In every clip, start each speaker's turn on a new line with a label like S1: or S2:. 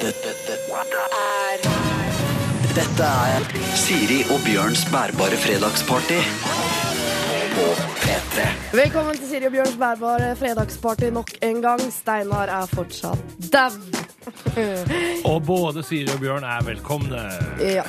S1: Dette, dette,
S2: er
S1: dette er Siri og Bjørns bærbare fredagsparty på P3.
S3: Velkommen til Siri og Bjørns bærbare fredagsparty nok en gang. Steinar er fortsatt dau.
S4: Og både Siri og Bjørn er velkomne.
S3: Ja.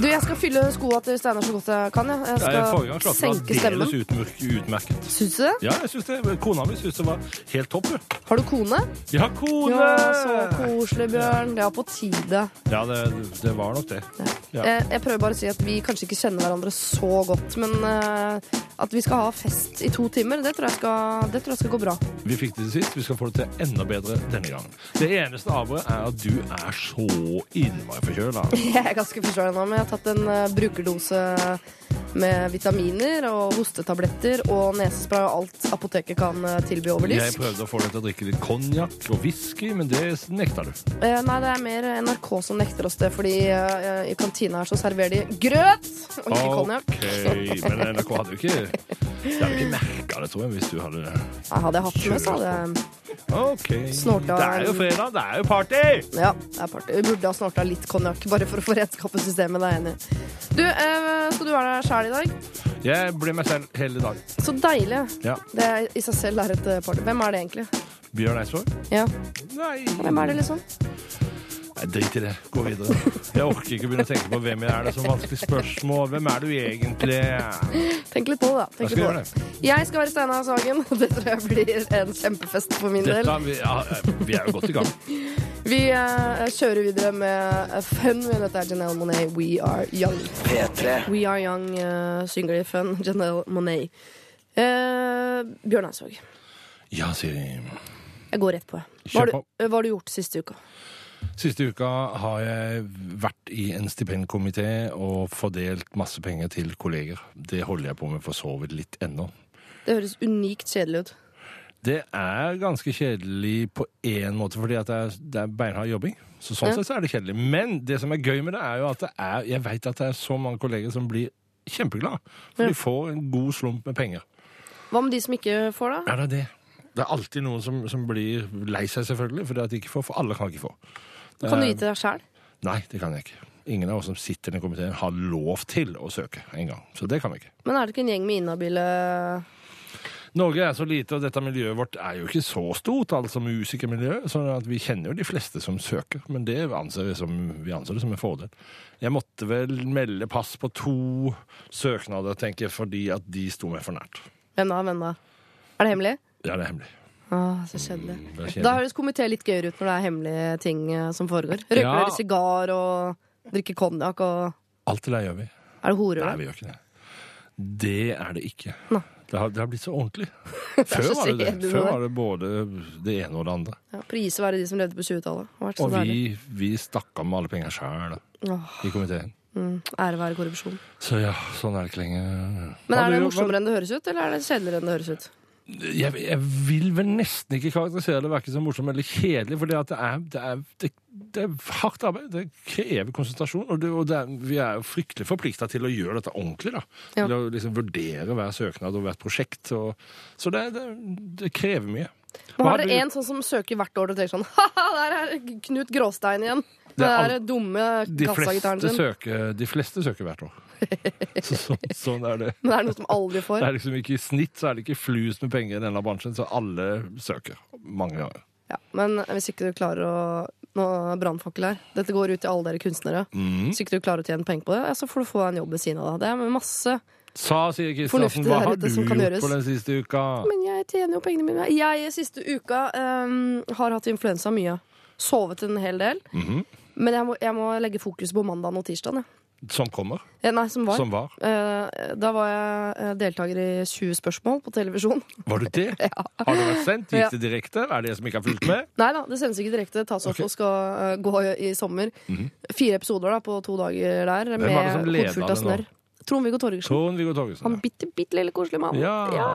S3: Du, jeg skal fylle skoa til Steinar så godt jeg kan. Jeg, jeg
S4: Jeg Forrige gang
S3: skal
S4: klarte
S3: senke
S4: jeg aldeles
S3: stemmen.
S4: utmerk- utmerket.
S3: Syns du det?
S4: Ja, jeg synes det. Kona mi syns det var helt topp. hun.
S3: Har du kone?
S4: Ja, kone!
S3: Ja, så koselig, Bjørn. Det er på tide.
S4: Ja, det, det var nok det. Ja.
S3: Jeg, jeg prøver bare å si at vi kanskje ikke kjenner hverandre så godt, men eh, at vi skal ha fest i to timer, det tror jeg skal, det tror jeg skal gå bra.
S4: Vi fikk det til sist. Vi skal få det til enda bedre denne gangen. Det eneste avbrudet er at du er så innmari forkjøla.
S3: Jeg er ganske forståelig nå, men jeg har tatt en eh, brukerdose med vitaminer og hostetabletter og nesespray og alt apoteket kan eh, tilby over
S4: Jeg
S3: lyst.
S4: prøvde å få deg til å drikke litt konjakk og whisky, men det nekta du.
S3: Eh, nei, det er mer NRK som nekter oss det, fordi eh, i kantina her så serverer de grøt og ikke konjakk.
S4: Ok, Men NRK hadde jo ikke De hadde ikke merka det, tror jeg, hvis du hadde
S3: Nei, Hadde jeg hatt det med, så hadde jeg
S4: OK.
S3: Snorta
S4: Det er jo fredag, det er jo party!
S3: Ja, det er party. Vi burde ha snorta litt konjakk, bare for å få redskap i systemet. Det er jeg enig i. Du, eh, skal du være der sjæl i dag?
S4: Jeg ble meg selv hele dag.
S3: Så deilig.
S4: Ja.
S3: Det er- i seg selv er et eh, party. Hvem er det egentlig?
S4: Bjørn Eidsvåg?
S3: Ja,
S4: Nei.
S3: Hvem er det, liksom?
S4: Nei, Drit i det. Gå videre. Jeg orker ikke begynne å tenke på hvem jeg er. Det er så vanskelig spørsmål. Hvem er du egentlig?
S3: Tenk litt på det, da. Tenk litt
S4: Jeg skal
S3: på
S4: gjøre
S3: Jeg skal være Steinar Sagen. og Det tror jeg blir en kjempefest for min del.
S4: Dette, vi, ja, vi er jo godt i gang.
S3: Vi eh, kjører videre med eh, Fun. Dette er Janelle Monet, We Are Young.
S1: P3.
S3: We Are Young eh, synger de Fun, Janelle Monet. Eh, Bjørn Eidsvåg,
S4: Ja, Siri.
S3: jeg går rett på. Hva
S4: Kjør
S3: har du,
S4: på.
S3: eh, hva har du gjort siste uka?
S4: Siste uka har jeg vært i en stipendkomité og fordelt masse penger til kolleger. Det holder jeg på med for så vidt litt ennå.
S3: Det høres unikt kjedelig ut.
S4: Det er ganske kjedelig på én måte, fordi at det er, det er beinhard jobbing. Så sånn
S3: Ja.
S4: sett så er det kjedelig. Men det som er gøy med det, er jo at det er, jeg vet at det er så mange kolleger som blir kjempeglade. For
S3: Ja.
S4: de får en god slump med penger.
S3: Hva med de som ikke får, da?
S4: Ja, det er det. Det er alltid noen som, som blir lei seg, selvfølgelig, fordi at de ikke får. For alle kan ikke få. Det
S3: Kan du
S4: er-
S3: gi til deg sjæl?
S4: Nei, det kan jeg ikke. Ingen av oss som sitter i den komiteen, har lov til å søke en gang. Så det kan vi ikke.
S3: Men er det ikke en gjeng med inhabile
S4: Norge er så lite, og dette miljøet vårt er jo ikke så stort, altså musikermiljøet, sånn at vi kjenner jo de fleste som søker, men det anser vi, som, vi anser det som en fordel. Jeg måtte vel melde pass på to søknader, tenker jeg, fordi at de sto meg for nært.
S3: Hvem da? Hvem da? Er det hemmelig?
S4: Ja, det er hemmelig.
S3: Ah, så kjedelig.
S4: Mm, Det er
S3: Da
S4: kjedelig.
S3: høres komité litt gøyere ut når det er hemmelige ting eh, som foregår. Røyker
S4: Ja.
S3: dere sigar og drikker konjakk og
S4: Alt det der gjør vi.
S3: Er det horer?
S4: Nei,
S3: da?
S4: vi gjør ikke det. Det er det ikke.
S3: Nei.
S4: Det har, det har blitt så ordentlig. Før
S3: så
S4: var det det.
S3: kjedelig,
S4: Før
S3: det.
S4: var det både det ene og det andre.
S3: Ja, Priset være de som levde på 20-tallet. Sånn Det har vært så
S4: Og vi,
S3: deilig.
S4: vi stakk av med alle penger sjøl
S3: Åh,
S4: i komiteen.
S3: mm, ære være korrupsjon.
S4: Så ja, sånn er det ikke lenger.
S3: Men er
S4: Har du
S3: det
S4: jo-
S3: morsommere enn det høres ut, eller er det kjedeligere enn det høres ut?
S4: jeg, jeg vil vel nesten ikke karakterisere det verken som morsomt eller kjedelig, for det, er, det, er, det, det er hardt arbeid. Det krever konsentrasjon. Og, det, og det er, vi er jo fryktelig forplikta til å gjøre dette ordentlig. da.
S3: Ja.
S4: Til å liksom vurdere hver søknad og hvert prosjekt. Og, så det, det, det krever mye.
S3: Men
S4: Hva
S3: har dere
S4: du-
S3: en sånn som søker hvert år og tenker sånn Ha-ha, der er Knut Gråstein igjen!
S4: Det
S3: Det
S4: er
S3: er dumme
S4: de
S3: kassagitaren
S4: fleste,
S3: sin.
S4: søker, de fleste søker hvert år. Så, så, sånn er det.
S3: Men er det noe som aldri
S4: Det
S3: får?
S4: er liksom ikke I snitt så er det ikke flust med penger i denne bransjen, så alle søker. Mange ganger.
S3: Ja, men hvis ikke du klarer å Nå brannfakkel her. Dette går ut til alle dere kunstnere. Hvis ikke du klarer å tjene penger på det, ja, så får du få deg en jobb ved siden av deg. Det er masse
S4: Sa Siri Kristiansen,
S3: Fornuftig
S4: hva
S3: der
S4: har
S3: ute
S4: du
S3: som kan
S4: gjort
S3: gjøres.
S4: på den siste uka?
S3: Men jeg tjener jo pengene mine. Jeg siste uka ehm, har hatt influensa mye. Sovet en hel del. Men jeg må, jeg må legge fokus på mandagen og tirsdagen. jeg.
S4: Som kommer?
S3: Eh, Nei, som var.
S4: Som var?
S3: Eh, da var jeg eh, deltaker i 20 spørsmål på televisjon.
S4: Var du det? Har det vært sendt?
S3: Ja.
S4: Gikk det direkte? Er det jeg som ikke har fulgt med?
S3: Nei da, det sendes ikke direkte. Det tas opp
S4: Ok.
S3: og skal eh, gå i, i sommer. Fire episoder da, på to dager der. Hvem
S4: var det som ledet
S3: av
S4: det nå?
S3: snørr. Trond-Viggo Torgersen.
S4: Trond-Viggo
S3: Han
S4: Torgersen.
S3: bitte, bitte lille koselig mann.
S4: Ja. ja.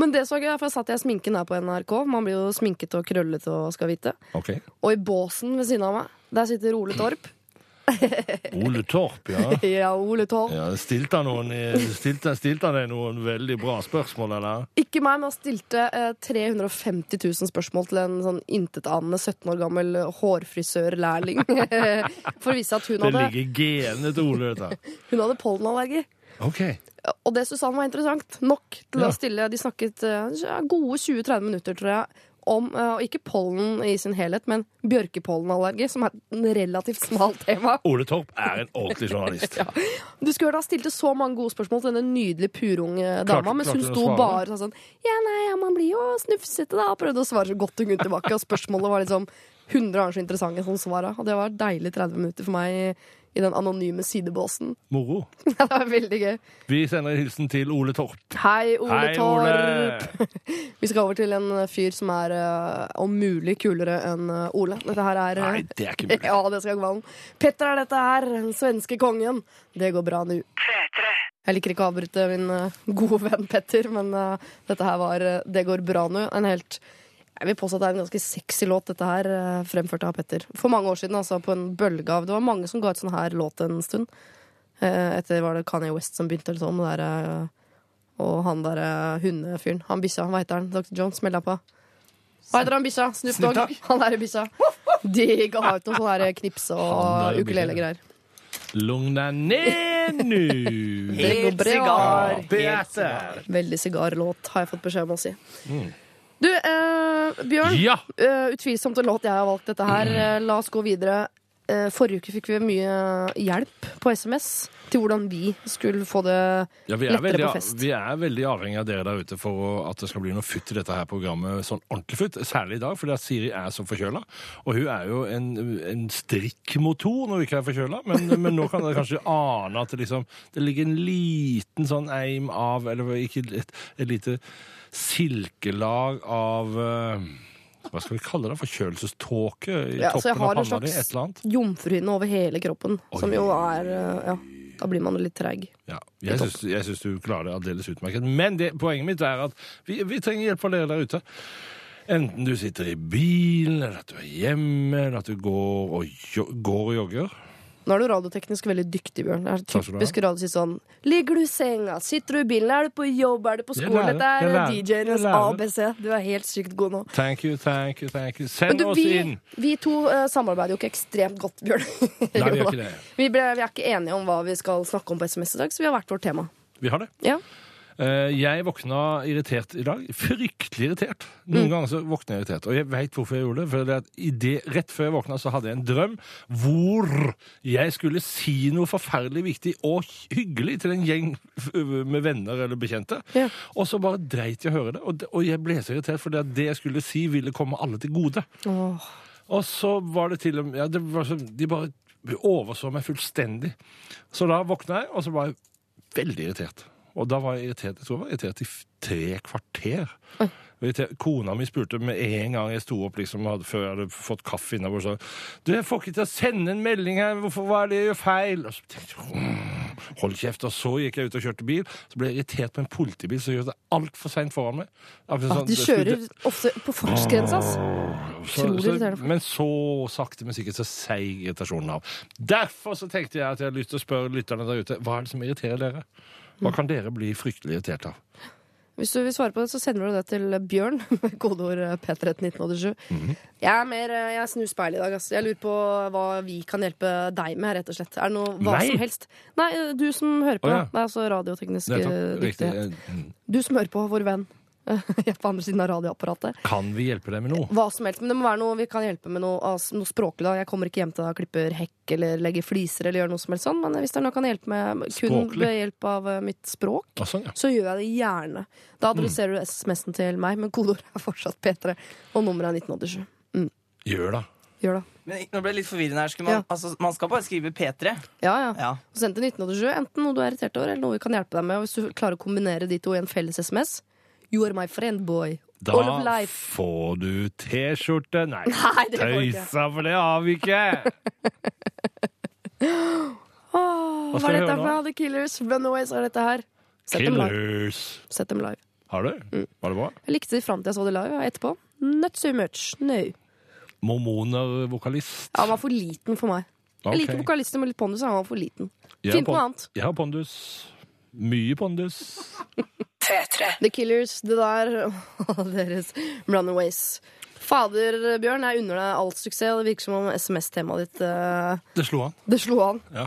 S3: Men det så gøy, for jeg satt jeg sminken her på NRK. Man blir jo sminket og krøllet og skal vite.
S4: Ok.
S3: Og i båsen ved siden av meg, der sitter Ole Torp.
S4: Ole Torp, ja.
S3: Ja, Ole Torp.
S4: ja stilte, han noen, stilte, stilte han deg noen veldig bra spørsmål, eller?
S3: Ikke meg, men han stilte eh, 350 000 spørsmål til en sånn intetanende 17 år gammel hårfrisørlærling. for å vise at hun
S4: Det
S3: hadde,
S4: ligger i genene til Ole, dette.
S3: hun hadde pollenallergi.
S4: OK.
S3: Og det synes han var interessant nok til
S4: Ja.
S3: å stille. De snakket eh, gode 20-30 minutter, tror jeg, om eh, og ikke pollen i sin helhet, men bjørkepollenallergi, som er et relativt smalt tema.
S4: Ole Torp er en ordentlig journalist.
S3: Du skulle hørt Han stilte så mange gode spørsmål til denne nydelige purunge dama, mens
S4: klarte
S3: hun
S4: hun å
S3: sto
S4: svare?
S3: bare sånn Ja, nei, ja, man blir jo snufsete, da. Og prøvde å svare så godt hun kunne tilbake. Og spørsmålet var liksom 100 ganger så interessante som svara. Og det var deilig 30 minutter for meg i, i den anonyme sidebåsen.
S4: Moro.
S3: Ja, det var veldig gøy.
S4: Vi sender en hilsen til Ole Torp.
S3: Hei, Ole
S4: Hei,
S3: Torp. Vi skal over til en fyr som er eh, om mulig kulere enn eh, Ole. Dette her er eh,
S4: Nei, det er ikke mulig.
S3: Ja, det skal gå an. Petter er dette her, den svenske kongen. Det går bra nå. Jeg liker ikke å avbryte min eh, gode venn Petter, men eh, dette her var eh, Det går bra nå. En helt jeg vil påstå at det er en ganske sexy låt, dette her, eh, fremført av Petter. For mange år siden, altså, på en bølge av Det var mange som ga ut sånn her låt en stund. Eh, Etter var det Kanye West som begynte, eller sånn. Det der, eh, og han der eh, hundefyren. Han bikkja, hva heter han? Dr. John, smell deg på. Hva heter han bikkja? Snoop
S4: Snoop
S3: Dogg.
S4: Dogg.
S3: Han derre bikkja. De ga ut noen sånne der knips
S4: Han
S3: og
S4: der
S3: ukulele-greier.
S4: Lugna ned nu.
S3: Det går bra.
S4: Beate.
S3: Veldig sigarlåt, har jeg fått beskjed om å si. Du, eh, Bjørn.
S4: Mm. Ja.
S3: Eh, utvilsomt en låt jeg har valgt dette her. Eh, la oss gå videre. Eh, forrige uke fikk vi mye hjelp på SMS til hvordan vi skulle få det
S4: Ja, vi, er
S3: lettere
S4: veldig,
S3: på fest.
S4: vi er veldig avhengig av dere der ute for å, at det skal bli noe futt i dette her programmet. Sånn ordentlig futt. Særlig i dag, fordi at Siri er så forkjøla. Og hun er jo en, en strikkmotor når hun ikke er forkjøla, men, men nå kan dere kanskje ane at det, liksom, det ligger en liten sånn eim av Eller ikke et, et lite silkelag av eh, Hva skal vi kalle det? Forkjølelseståke i
S3: Ja, så jeg
S4: toppen
S3: har
S4: av
S3: en
S4: panna di?
S3: slags-
S4: Et eller annet?
S3: Jomfruhinne over hele kroppen, som jo er eh, Ja, da blir man jo litt treig.
S4: Ja, jeg syns, jeg syns du klarer det aldeles utmerket. Men det, poenget mitt er at vi, vi trenger hjelp fra dere der ute. Enten du sitter i bilen, eller at du er hjemme, eller at du går og, jo, går og jogger.
S3: Nå er du radioteknisk veldig dyktig, Bjørn. Det er
S4: Takk skal du ha.
S3: typisk radio å si sånn Ligger du i senga? Sitter du i bilen? Er du på jobb? Er du på
S4: Jeg
S3: skolen?
S4: lærer.
S3: Dette
S4: Jeg
S3: er
S4: lærer.
S3: DJ-enes
S4: Jeg lærer.
S3: ABC. Du er helt sykt god nå.
S4: Thank you, thank you, thank you.
S3: Men
S4: Send
S3: du,
S4: oss
S3: vi,
S4: inn!
S3: vi to eh, samarbeider jo ikke ekstremt godt, Bjørn.
S4: Nei, vi
S3: Jo
S4: gjør
S3: da.
S4: ikke det.
S3: Vi, ble, vi er ikke enige om hva vi skal snakke om på SMS i dag, så vi har hvert vårt tema.
S4: Vi har det.
S3: Ja.
S4: Eh, Jeg våkna irritert i dag. Fryktelig irritert. Noen ganger så våkner jeg irritert. Og jeg veit hvorfor jeg gjorde det. For det at i det, rett før jeg våkna, så hadde jeg en drøm hvor jeg skulle si noe forferdelig viktig og hyggelig til en gjeng f- med venner eller bekjente.
S3: Ja.
S4: Og så bare dreit jeg å høre det. Og, det, og jeg ble så irritert, for det at det jeg skulle si, ville komme alle til gode. Sånn,
S3: Åh.
S4: Og så var det til og med ja, det var så, De bare overså meg fullstendig. Så da våkna jeg, og så var jeg veldig irritert. Og da var jeg irritert jeg tror jeg var irritert i f- tre kvarter. Irritert- Kona mi spurte med en gang jeg sto opp liksom, hadde, før jeg hadde fått kaffe innafor, så Du, jeg får ikke til å sende en melding her, hvorfor hva er det jeg gjør feil? Og så tenkte jeg «Åh, Hold kjeft. Og så gikk jeg ut og kjørte bil. Så ble jeg irritert på en politibil som gjorde det altfor seint foran meg. Akkurat sånn,
S3: De
S4: det skulle-
S3: kjører ofte på fartsgrensa, ass.
S4: så,
S3: Utrolig
S4: så,
S3: irriterende.
S4: men så sakte, men sikkert så seig irritasjonen av. Derfor så tenkte jeg at jeg har lyst til å spørre lytterne der ute hva er det som irriterer dere. Hva kan dere bli fryktelig irritert av?
S3: Hvis du vil svare på det, så sender du det til Bjørn. Kodeord P31987.
S4: Mhm.
S3: Jeg er mer, eh, jeg snur speilet i dag. ass. Jeg lurer på hva vi kan hjelpe deg med, rett og slett. Er det noe hva
S4: Meg?
S3: som helst? Nei, eh, du som hører på.
S4: Å, ja.
S3: Det er altså radioteknisk eh,
S4: Nettopp, riktig.
S3: dyktig. Du som hører på, vår venn. Jeg er på andre siden av radioapparatet.
S4: Kan vi hjelpe deg med noe?
S3: Hva som helst, men det må være noe vi kan hjelpe med noe, altså, noe språklig. da. Jeg kommer ikke hjem til deg og klipper hekk eller legger fliser eller gjør noe som helst sånn, men hvis det er noe jeg kan hjelpe med kun
S4: Språklig.
S3: ved hjelp av eh, mitt språk,
S4: Å, sånn, ja.
S3: så gjør jeg det gjerne. Da adresserer du SMS-en til meg, men kodeordet er fortsatt P3, og nummeret er 1987.
S4: Gjør det.
S3: Gjør det.
S2: Men nå ble jeg litt forvirrende her. Skulle man,
S3: Ja.
S2: altså, man skal bare skrive P3.
S3: Ja, ja.
S2: Ja.
S3: Og send til 1987 enten noe du er irritert over, eller noe vi kan hjelpe deg med. Og hvis du klarer å kombinere de to i en felles SMS, you are my friend, boy.
S4: Da
S3: All of life.
S4: får du T-skjorte Nei,
S3: Nei, det går ikke.
S4: tøysa, for det har vi ikke!
S3: Åh,
S4: Hva
S3: hva
S4: skal
S3: er
S4: vi
S3: dette
S4: høre
S3: for
S4: nå?
S3: noe? The Killers, Runaways, er dette her? Sett Mm. dem live.
S4: Killers.
S3: Sett dem live.
S4: Har du? Var det bra?
S3: Jeg likte det fram til jeg så det live, og etterpå not so much. No.
S4: Mormoner-vokalist.
S3: Ja, han var for liten for meg.
S4: Ok.
S3: Jeg liker vokalister med litt pondus. Han var for liten.
S4: Jeg
S3: Finn
S4: har
S3: på
S4: pon-
S3: noe annet.
S4: Jeg har pondus. Mye pondus.
S3: The Killers, det der og deres Runaways. Fader, Bjørn, jeg unner deg all suksess. og Det virker som om SMS-temaet ditt eh,
S4: Det slo han.
S3: Det slo an.
S4: Ja.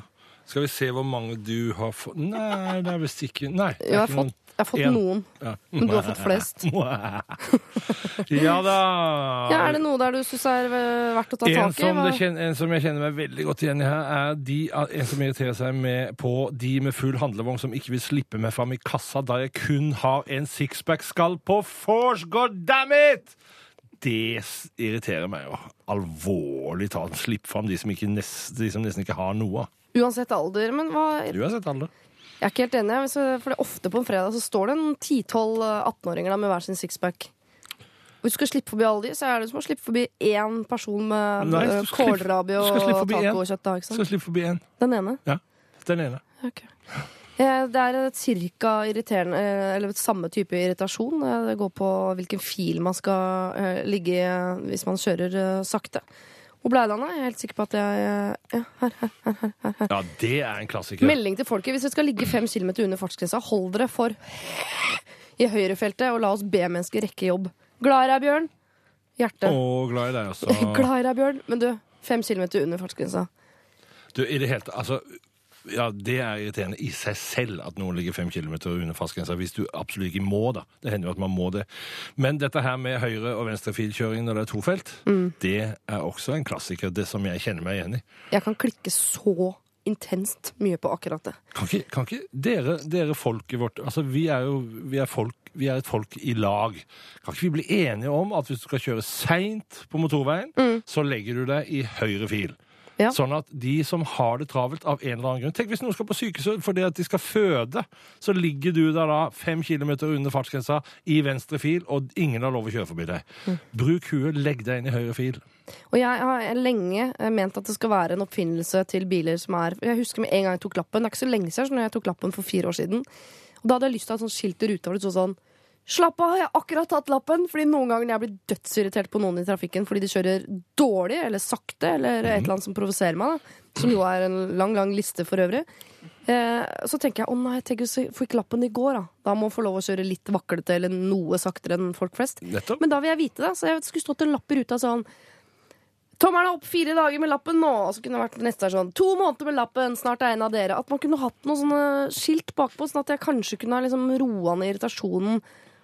S4: Skal vi se hvor mange du har fått Nei, det er visst ikke Nei. det
S3: Jo, jeg
S4: er
S3: har
S4: ikke
S3: fått, jeg har fått
S4: En.
S3: noen,
S4: noen-
S3: men du har fått flest.
S4: Ja. ja da.
S3: Ja, Er det noe der du syns er eh, verdt å ta
S4: En
S3: tak i?
S4: som,
S3: Hva-
S4: det kjen- en som jeg kjenner meg veldig godt igjen i her, er de, en som irriterer seg med, på de med full handlevogn som ikke vil slippe meg fram i kassa da jeg kun har en sixpack-skall på vors, god damn it! Det s- irriterer meg jo. Alvorlig talt. Slipp fram de som, ikke nest, de som nesten ikke har noe.
S3: Uansett alder. Men hva, jeg
S4: Du har sett alle.
S3: er ikke helt enig, hvis jeg- for det er ofte på en fredag så står det en 10-12 18-åringer der med hver sin sixpack. Og Hvis du skal slippe forbi alle de, så er det som å slippe forbi én person med
S4: Nei,
S3: eh,
S4: du skal slippe-
S3: kålrabi
S4: du skal slippe
S3: og
S4: forbi én.
S3: tacokjøtt. da, ikke sant?
S4: Skal slippe forbi én.
S3: Den ene.
S4: Ja, den ene.
S3: Ok. Eh, Det er et cirka irriterende eh, Eller et samme type irritasjon. Eh, Det går på hvilken fil man skal eh, ligge i eh, hvis man kjører eh, sakte. Og Bleiland er jeg helt sikker på at jeg eh, ja, her, her.
S4: Ja, det er en klassiker.
S3: Melding til folket. Hvis dere skal ligge fem kilometer under fartsgrensa, hold dere for i høyrefeltet, og la oss B-mennesker rekke jobb. Glad i deg, Bjørn. Hjerte.
S4: Og glad i deg også.
S3: Glad i deg, Bjørn. Men du, fem kilometer under fartsgrensa.
S4: Du, i det hele tatt, altså ja, Det er irriterende i seg selv at noen ligger fem kilometer under fartsgrensa, hvis du absolutt ikke må, da. Det hender jo at man må det. Men dette her med høyre- og venstrefilkjøring når det er to felt, det er også en klassiker. Det som jeg kjenner meg igjen i.
S3: Jeg kan klikke så intenst mye på akkurat det.
S4: Kan ikke, kan ikke dere, dere folket vårt Altså, vi er jo vi er folk, vi er et folk i lag. Kan ikke vi bli enige om at hvis du skal kjøre seint på motorveien, så legger du deg i høyre fil?
S3: Ja.
S4: Sånn at de som har det travelt av en eller annen grunn Tenk hvis noen skal på sykehuset fordi at de skal føde, så ligger du der da fem kilometer under fartsgrensa i venstre fil, og ingen har lov å kjøre forbi deg. Bruk huet, legg deg inn i høyre fil.
S3: Og jeg har lenge eh, ment at det skal være en oppfinnelse til biler som er Jeg husker med en gang jeg tok lappen. Det er ikke så lenge siden når jeg tok lappen for fire år siden. Og da hadde jeg lyst til å ha et sånt skilt i ruta hvor det sto sånn Slapp av, jeg har akkurat tatt lappen! Fordi noen ganger når jeg blir dødsirritert på noen i trafikken fordi de kjører dårlig eller sakte eller et eller annet som provoserer meg, da. Som jo er en lang, lang liste for øvrig. Eh, så tenker jeg å nei, tenk hvis jeg fikk lappen i går, da. Da må jeg få lov å kjøre litt vaklete eller noe saktere enn folk flest.
S4: Nettopp.
S3: Men da vil jeg vite det. Så jeg skulle stått en lapp i ruta sånn Tommelen er opp fire dager med lappen nå. Og så kunne det vært neste er sånn To måneder med lappen, snart er en av dere. At man kunne hatt noen sånne skilt bakpå, sånn at jeg kanskje kunne ha liksom roa ned irritasjonen.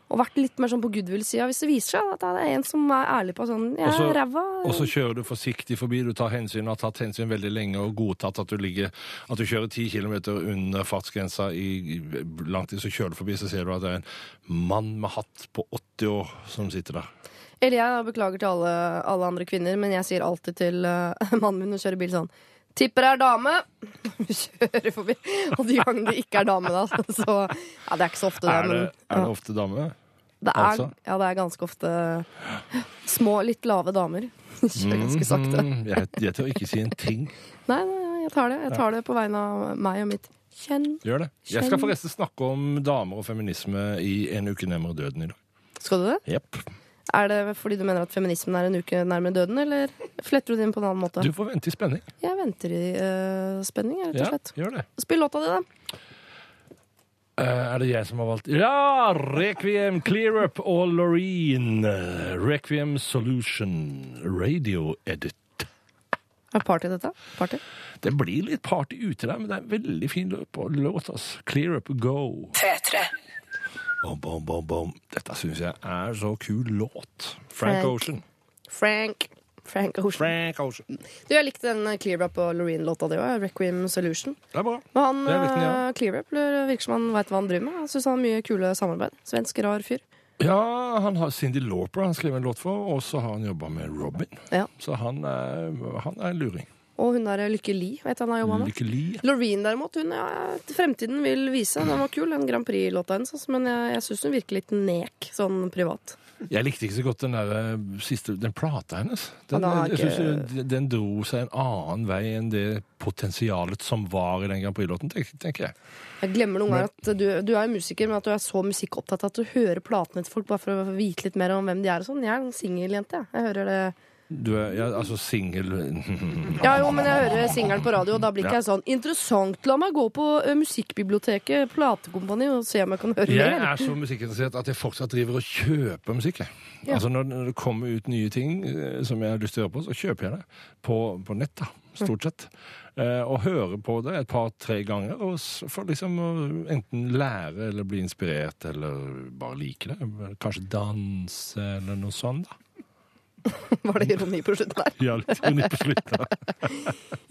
S3: Og vært litt mer sånn på goodwill-sida hvis det viser seg at det er en som er ærlig på sånn Jeg
S4: Og så-
S3: er ræva.
S4: Altså, Og så kjører du forsiktig forbi, du tar hensyn, har tatt hensyn veldig lenge og godtatt at du, ligger, at du kjører 10 kilometer under fartsgrensa i i- lang tid, så kjører du forbi, så ser du at det er en mann med hatt på 80 år som sitter der.
S3: Eller jeg beklager til alle, alle andre kvinner, men jeg sier alltid til eh, mannen min når jeg kjører bil sånn Tipper det er dame! Kjører forbi. Og de gangene det ikke er dame, da, så Ja, det er ikke så ofte,
S4: Er det,
S3: men
S4: er det ofte dame?
S3: Det er,
S4: Altså?
S3: Ja, det er ganske ofte små, litt lave damer. Kjører ganske sakte.
S4: Mm, jeg, jeg tør ikke si en ting.
S3: Nei, nei, jeg tar det. Jeg tar det på vegne av meg og mitt kjønn.
S4: Gjør det. Jeg skal forresten snakke om damer og feminisme i En uke nærmere døden i dag.
S3: Skal du det?
S4: Jepp.
S3: Er det fordi du mener at feminismen er en uke nærmere døden, eller fletter du det inn på en annen måte?
S4: Du får vente i spenning.
S3: Jeg venter i eh, spenning, jeg, rett og
S4: Ja,
S3: slett.
S4: gjør det.
S3: Spill låta di, da.
S4: Eh, er det jeg som har valgt Ja! Requiem, Clear Up og Loreen. Requiem Solution Radio Edit.
S3: Er det party, dette? Party?
S4: Det blir litt party ute der, men det er en veldig fin løp og låt. ass. Clear Up Go. Bom, bom, bom, bom. Dette syns jeg er så kul låt. Frank
S3: Frank.
S4: Ocean.
S3: Frank. Frank Ocean.
S4: Frank Ocean.
S3: Du, jeg likte den eh, Clear Up og Loreen-låta di òg. Requiem Solution.
S4: Det er bra.
S3: Men han
S4: Det er viktig, ja.
S3: eh, Clear Up virker som han veit hva han driver med. Jeg syns han har mye kule samarbeid. Svensk rar fyr.
S4: Ja, han har Cindy Lauper han skrev en låt for, og så har han jobba med Robin.
S3: Ja.
S4: Så han er, han er en luring.
S3: Og hun der Lykke Li, vet du hva han har jobba med?
S4: Lykke Li.
S3: Loreen derimot, hun ja, fremtiden vil vise. Den var kul, den Grand Prix-låta hennes. altså, Men jeg, jeg syns hun virker litt nek, sånn privat.
S4: Jeg likte ikke så godt den der eh, siste Den plata hennes. Den, eh,
S3: Ja, da har
S4: jeg
S3: ikke-
S4: synes, den dro seg en annen vei enn det potensialet som var i den Grand Prix-låten, tenk- tenker jeg.
S3: Jeg glemmer noen ganger at du, du er jo musiker, men at du er så musikkopptatt at du hører platene til folk bare for å vite litt mer om hvem de er og sånn. Jeg er en singeljente, jeg. Jeg hører det
S4: Du er ja, altså singel
S3: Ja, jo, men jeg hører singelen på radio, og da blir ikke jeg sånn Interessant, la meg gå på ø, musikkbiblioteket, platekompani, og se om jeg kan høre
S4: Jeg
S3: mer.
S4: er så musikkinteressert at jeg fortsatt driver og kjøper musikk. jeg.
S3: Ja.
S4: Altså når, når det kommer ut nye ting eh, som jeg har lyst til å høre på, så kjøper jeg det på, på nett, da, stort sett. Eh, og hører på det et par-tre ganger og s- for liksom å enten lære eller bli inspirert eller bare like det. Kanskje danse eller noe sånt, da.
S3: Var det ironi på slutten der?
S4: Ja, litt ironi på slutten. da.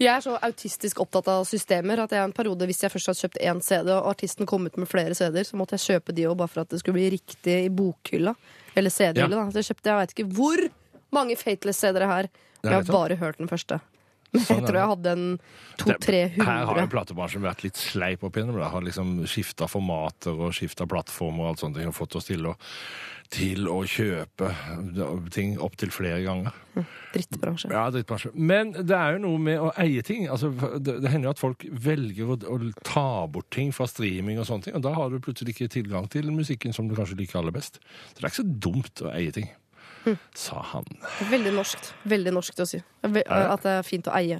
S3: Jeg er så autistisk opptatt av systemer at jeg en periode, hvis jeg først hadde kjøpt én CD, og artisten kom ut med flere CD-er, så måtte jeg kjøpe de òg, bare for at det skulle bli riktig i bokhylla. Eller CD-hylla,
S4: Ja.
S3: da. Så jeg kjøpte jeg veit ikke hvor mange Fateless CD-er her. Og
S4: Det er
S3: jeg har
S4: nettopp.
S3: bare hørt den første. Men
S4: Sånn
S3: jeg
S4: er
S3: tror jeg hadde en
S4: Her har jo
S3: 200-300.
S4: platebransjen vært litt sleip opp igjennom. Da. Har liksom skifta formater og skifta plattformer og alt sånt. Og fått oss til å, til å kjøpe ting opptil flere ganger.
S3: Drittbransje.
S4: Ja, drittbransje. Men det er jo noe med å eie ting. Altså, det, det hender jo at folk velger å, å ta bort ting fra streaming og sånne ting. Og da har du plutselig ikke tilgang til musikken som du kanskje liker aller best. Så det er ikke så dumt å eie ting. Sa han.
S3: Veldig norskt. Veldig norskt å si. Ve-
S4: det?
S3: At det er fint å eie.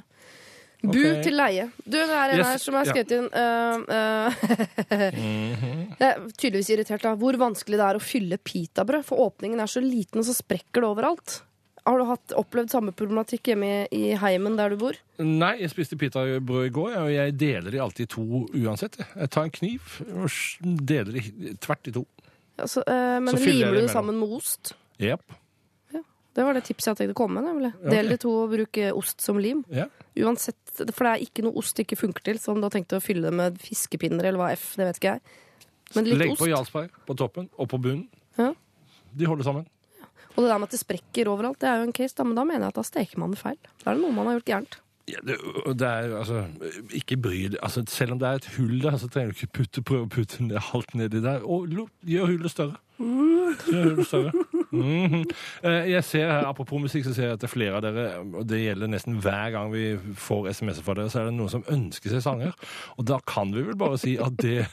S3: Bu
S4: Ok.
S3: til leie. Du, det er en
S4: Yes,
S3: her som har
S4: ja.
S3: skrevet inn øh, øh,
S4: Mhm.
S3: Det er tydeligvis irritert, da. Hvor vanskelig det er å fylle pitabrød, for åpningen er så liten, og så sprekker det overalt. Har du hatt, opplevd samme problematikk hjemme i, i heimen der du bor?
S4: Nei, jeg spiste pitabrød i går, og jeg deler de alltid i to uansett. Jeg tar en kniv og s- deler de tvert i to.
S3: Altså, øh, men
S4: Så fyller jeg
S3: limer du
S4: det
S3: det sammen med ost?
S4: Jepp.
S3: Det var det tipset jeg tenkte å komme med. nemlig. Del det i to og bruk eh, ost som lim.
S4: Ja.
S3: Uansett, For det er ikke noe ost det ikke funker til, så om du har tenkt å fylle det med fiskepinner eller hva f, det vet ikke jeg. Men litt
S4: Legg
S3: ost.
S4: på Jarlsberg på toppen og på bunnen.
S3: Ja.
S4: De holder sammen.
S3: Og det der med at det sprekker overalt, det er jo en case, da, men da mener jeg at da steker man det feil. Da er det noe man har gjort gærent.
S4: Ja, det, og det er, altså, ikke bry deg. Altså, selv om det er et hull der, så trenger du ikke putte, prøve å putte ned, alt nedi der. Og lo, gjør hullet større. Gjør hullet større. Mhm. Eh, Jeg ser her, Apropos musikk, så ser jeg at det er flere av dere, og det gjelder nesten hver gang vi får SMS-er fra dere, så er det noen som ønsker seg sanger. Og da kan vi vel bare si at det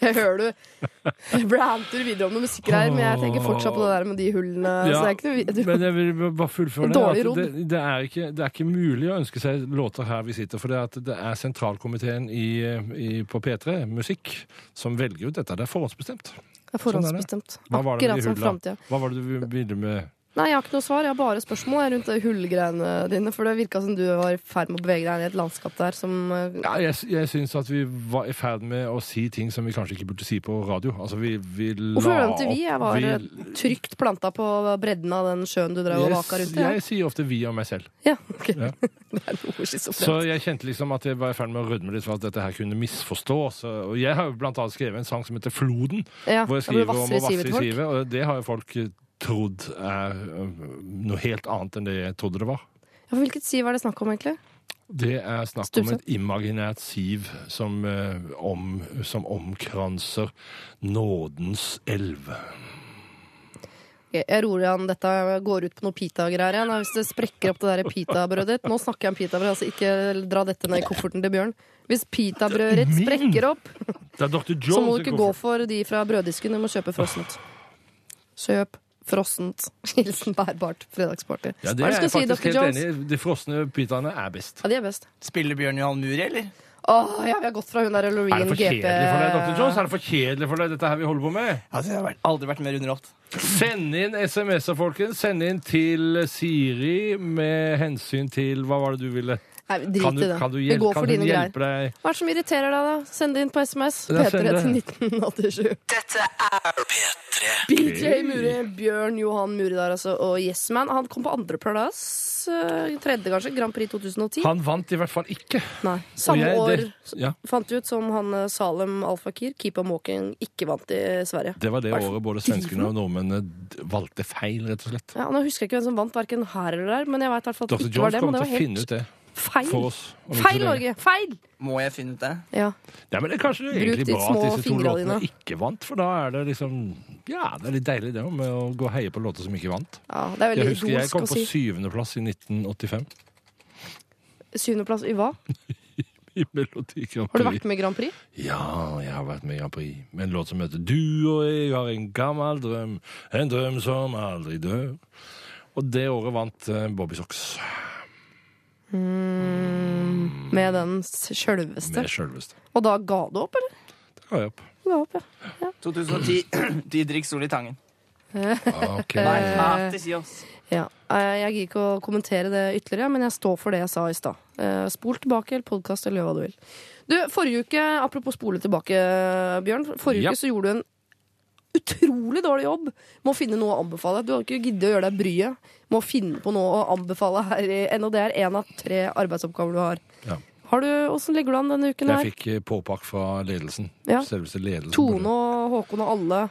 S3: Jeg hører du ranter videre om noe musikkgreier, men jeg tenker fortsatt på det der med de hullene. så Altså, det er ikke noe vi-
S4: men jeg vil bare fullføre det.
S3: Dårlig
S4: at
S3: råd.
S4: Det, det, er ikke, det er ikke mulig å ønske seg låter her vi sitter, for det er, at det er sentralkomiteen i, i, på P3 Musikk som velger ut dette. Det er forhåndsbestemt.
S3: Det er forhåndsbestemt.
S4: Hva var Sånn det
S3: Akkurat
S4: med
S3: som
S4: de hulla?
S3: framtida.
S4: Hva var det du ville med
S3: Nei, jeg har ikke noe svar. Jeg har bare spørsmål rundt de hullgreiene dine. For det virka som du var i ferd med å bevege deg inn i et landskap der som eh,
S4: ja, Jeg, jeg syns at vi var i ferd med å si ting som vi kanskje ikke burde si på radio. Altså, vi, vi la
S3: Hvorfor glemte vi? Jeg var eh,
S4: vi-
S3: trygt planta på bredden av den sjøen du drev og
S4: Jeg-
S3: vaka rundt i.
S4: Jeg sier ofte 'vi' om meg selv.
S3: Ja, ok.
S4: Ja.
S3: Det er noe schizofrent.
S4: Så jeg kjente liksom at jeg var i ferd med å rødme litt for at dette her kunne misforstås. Og jeg har jo blant annet skrevet en sang som heter 'Floden',
S3: Ja,
S4: hvor jeg
S3: da blir det
S4: skriver om å
S3: vassere
S4: vasse
S3: sivet
S4: i
S3: folk.
S4: sivet. Og det har jo folk eh, trodd er eh, noe helt annet enn det jeg trodde det var.
S3: Ja, for hvilket siv er det snakk om, egentlig?
S4: Det er snakk om
S3: Sturse.
S4: et imaginært siv som, eh, om, som omkranser nådens elv.
S3: Jeg jeg roer an dette går ut på noe pita-greier igjen. Hvis det sprekker opp det der pita-brødet ditt Nå snakker jeg om pita-brød, altså ikke dra dette ned i kofferten til Bjørn. Hvis pita-brødet ditt
S4: Min!
S3: sprekker opp,
S4: Det er Dr. Jones
S3: så må du ikke
S4: som
S3: gå
S4: går for-
S3: for de fra brøddisken, du må kjøpe frossent. Kjøp frossent. Hilsen bærbart fredagsparty. Hva
S4: Ja, det er
S3: er det du
S4: jeg
S3: skal si,
S4: faktisk
S3: Dr.
S4: helt
S3: Jones?
S4: enig i. De frosne pitaene er best.
S3: Ja, de er best.
S2: Spiller Bjørn Johan Muri, eller?
S3: Åh, ja, vi har gått fra hun der
S4: Er det
S3: Loreen
S4: for kjedelig
S3: GP
S4: for deg, Dr. Jones? Er det for kjedelig for deg, dette her vi holder på med?
S2: Altså, jeg har vært- aldri vært mer underholdt.
S4: Send inn SMS-er, folkens. Send inn til Siri med hensyn til Hva var det du ville?
S3: Nei,
S4: Kan
S3: drit
S4: du,
S3: i det.
S4: kan du
S3: Vi
S4: hjel-
S3: går
S4: kan
S3: for
S4: hun
S3: dine greier.
S4: hjelpe deg?
S3: Hva er det som irriterer deg, da? Send det inn på SMS.
S4: Ja, send
S3: P3 til
S4: det.
S3: 1987.
S1: P3.
S3: BJ Muri, Bjørn Johan Muri der, altså. Og Yes Man. Han kom på andreplass. eh, Tredje, kanskje. Grand Prix 2010.
S4: Han vant i hvert fall ikke.
S3: Nei.
S4: Og
S3: Samme
S4: jeg-
S3: år
S4: det- ja,
S3: fant vi ut som han eh, Salem Al-Fakir, Keep on Walking, ikke vant i eh, Sverige.
S4: det var det
S3: Hva er det for
S4: året både svenskene og nordmennene d- valgte feil, rett og slett.
S3: Ja, og nå husker jeg ikke hvem som vant, hverken her eller der, men jeg vet i hvert fall at
S4: Dr.
S3: det ikke var
S4: Jones
S3: dem. Og
S4: kommer
S3: det
S4: til
S3: var
S4: å finne
S3: helt
S4: ut det for
S3: feil.
S4: oss. om ikke
S3: Feil,
S4: så lenge.
S3: Norge! Feil!
S2: Må jeg finne ut det?
S3: Ja.
S4: Ja, men det er kanskje det er
S3: Bruk
S4: egentlig
S3: de
S4: bra at
S3: små
S4: disse to
S3: fingrene
S4: låtene
S3: dine.
S4: ikke vant, for da er det liksom Ja, det er litt deilig det med å gå og heie på låter som ikke vant.
S3: ja det er
S4: Jeg
S3: veldig
S4: husker jeg
S3: idolsk
S4: kom
S3: å
S4: på
S3: si.
S4: syvendeplass i 1985
S3: Syvendeplass i hva?
S4: i Melodi Grand
S3: Har du
S4: Prix.
S3: vært med i Grand Prix?
S4: Ja, jeg har vært med i Grand Prix med en låt som heter Du og jeg har en gammel drøm, en drøm som aldri dør. Og det året vant eh, Bobby Socks
S3: Med den s- sjølveste.
S4: Mm. med sjølveste.
S3: Og da ga du opp, eller?
S4: Det ga jeg opp.
S3: Du Ga opp, ja.
S2: 2010. Didrik Sol i Tangen.
S4: Ah, Okay.
S2: Hater Kjos.
S3: Ja. Eh, Jeg gir ikke å kommentere det ytterligere, men jeg står for det jeg sa i stad. Eh, Spol tilbake, eller podkast, eller gjør hva du vil. Du, forrige uke, apropos spole tilbake, Bjørn. Forrige
S4: Ja.
S3: uke så gjorde du en utrolig dårlig jobb med å finne noe å anbefale. Du har ikke giddet å gjøre deg bryet med å finne på noe å anbefale her i NHD. Det er én av tre arbeidsoppgaver du har.
S4: Ja.
S3: Har du, Åssen legger du an denne uken
S4: Jeg
S3: her?
S4: fikk eh, påpakk fra ledelsen.
S3: Ja.
S4: Selveste ledelsen.
S3: Tone og Håkon og alle.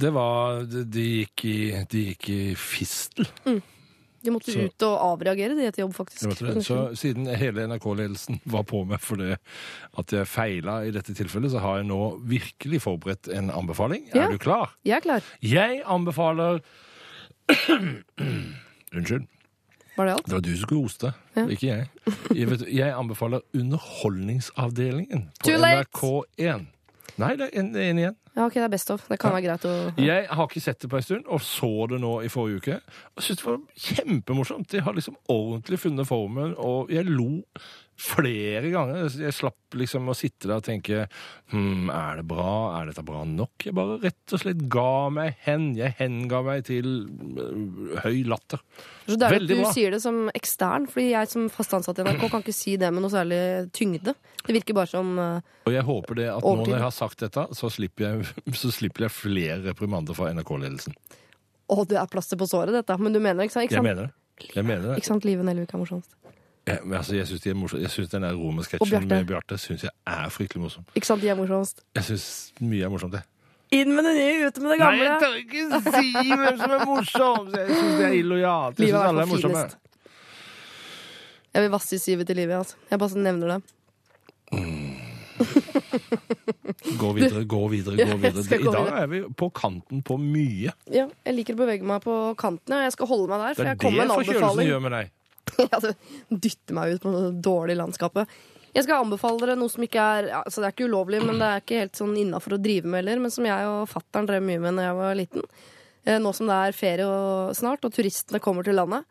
S4: Det var, de, de, gikk i, de gikk i fistel.
S3: De måtte
S4: Så-
S3: ut og avreagere de etter jobb, faktisk.
S4: Jeg vet det. Så siden hele NRK-ledelsen var på meg for det at jeg feila i dette tilfellet, så har jeg nå virkelig forberedt en anbefaling.
S3: Ja.
S4: Er du klar?
S3: Jeg er klar.
S4: Jeg anbefaler Unnskyld.
S3: Var det alt?
S4: Det var du som skulle hoste, ikke jeg. Jeg, vet, jeg anbefaler Underholdningsavdelingen på
S3: Too late!
S4: NRK1. Nei, det er en, en igjen.
S3: Ja, ok, det er best of. Det kan være greit å
S4: Jeg har ikke sett det på en stund, og så det nå i forrige uke. Og syntes det var kjempemorsomt. De har liksom ordentlig funnet formen, og jeg lo flere ganger. Jeg slapp liksom å sitte der og tenke hm, er det bra, er dette bra nok? Jeg bare rett og slett ga meg hen. Jeg henga meg til øh, høy latter.
S3: Så det er at
S4: Veldig
S3: du
S4: bra.
S3: sier det som ekstern, fordi jeg som fast ansatt i NRK kan ikke si det med noe særlig tyngde. Det virker bare som eh,
S4: Og jeg håper det at nå
S3: Overtid.
S4: når jeg har sagt dette, så slipper jeg, så slipper jeg flere reprimander fra NRK-ledelsen.
S3: Å, det er plaster på såret, dette. Men du mener det, ikke sant? Ikke
S4: Jeg
S3: sant,
S4: mener det. Jeg mener det.
S3: Ikke sant? Live Nelvik er morsomst.
S4: Jeg, men altså, jeg syns de er morsomme. Jeg synes den der
S3: Og
S4: romersketsjen
S3: Bjarte.
S4: med Bjarte synes jeg er fryktelig morsom.
S3: Ikke sant, de er morsomst.
S4: Jeg syns mye er morsomt, det.
S3: Inn med det nye, ute med det gamle!
S4: tør ikke si hvem som er morsom! Jeg syns det er illojalt.
S3: Livet synes er alle er for morsomme. finest. Jeg vil vasse i sivet til livet, altså. Jeg bare nevner det.
S4: Gå videre, gå videre,
S3: Ja,
S4: gå
S3: jeg
S4: videre.
S3: skal
S4: I
S3: gå
S4: dag
S3: videre.
S4: er vi på kanten på mye.
S3: Ja, jeg liker å bevege meg på kantene, og jeg skal holde meg der,
S4: Det
S3: for
S4: er
S3: jeg
S4: det
S3: kom med en
S4: forkjølelsen
S3: anbefaling.
S4: gjør med deg.
S3: Ja, du dytter meg ut på det dårlige landskapet. Jeg skal anbefale dere noe som ikke er ja, altså Det er ikke ulovlig, men det er ikke helt sånn innafor å drive med heller. Men som jeg og fattern drev mye med da jeg var liten. Eh, Nå som det er ferie og snart, og turistene kommer til landet.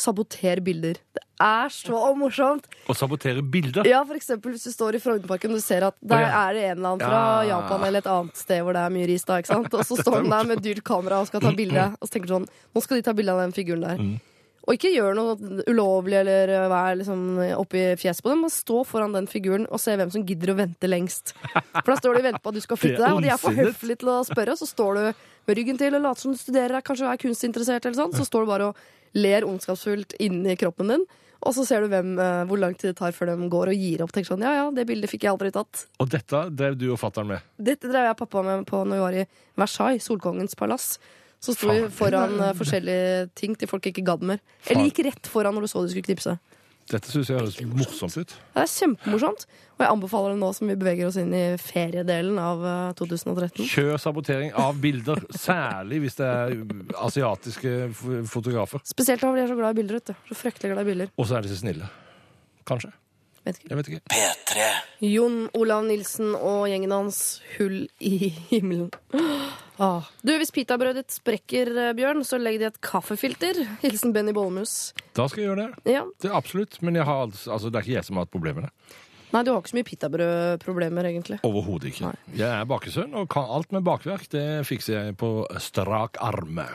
S3: Saboter bilder. Det er så morsomt!
S4: Å sabotere bilder.
S3: Ja, for eksempel hvis du står i Frognerparken og du ser at der
S4: Å, ja.
S3: er det en eller annen fra
S4: Ja.
S3: Japan eller et annet sted hvor det er mye ris, da, ikke sant? Og så står den der med dyrt kamera og skal ta bilde, og så tenker du sånn Nå skal de ta bilde av den figuren der.
S4: Mm.
S3: Og ikke gjør noe ulovlig eller eh, vær liksom oppi fjeset på dem, men stå foran den figuren og se hvem som gidder å vente lengst. For da står de og venter på at du skal
S4: Det er
S3: flytte deg, og de er for
S4: ondsinnet.
S3: høflige til å spørre, og så står du med ryggen til og later som du studerer, er- kanskje er kunstinteressert eller sånn, så står du bare og ler ondskapsfullt inni kroppen din. Og så ser du hvem, eh, hvor lang tid det tar før de går og gir opp. Tenker sånn, ja ja, det bildet fikk jeg aldri tatt.
S4: Og dette drev du og fatter'n med.
S3: Dette drev jeg og pappa med på når vi var i Versailles, Solkongens palass. Så sto vi
S4: Faen.
S3: foran eh, forskjellige ting til folk ikke gadd mer. Eller gikk rett foran når du så de skulle knipse.
S4: Dette syns jeg høres morsomt ut.
S3: Det er kjempemorsomt, og jeg anbefaler det nå som vi beveger oss inn i feriedelen av eh, 2013.
S4: Kjør sabotering av bilder, særlig hvis det er asiatiske f- fotografer.
S3: Spesielt fordi jeg er så glad i bilder. Vet du. Så fryktelig glad i bilder.
S4: Og så er de så snille. Kanskje.
S3: Vet ikke.
S4: Jeg vet ikke.
S1: P3.
S3: Jon Olav Nilsen og gjengen hans Hull i himmelen. Ah. Du, Hvis pitabrødet ditt sprekker, eh, Bjørn, så legg det i et kaffefilter. Hilsen Benny Bollemus.
S4: Da skal jeg gjøre det.
S3: Ja.
S4: det er absolutt. Men jeg har, altså, altså, det er ikke jeg som har hatt problemene.
S3: Nei, du har ikke så mye pitabrødproblemer, egentlig.
S4: Overhodet ikke. Jeg er bakesønn, og kan alt med bakverk det fikser jeg på strak arme.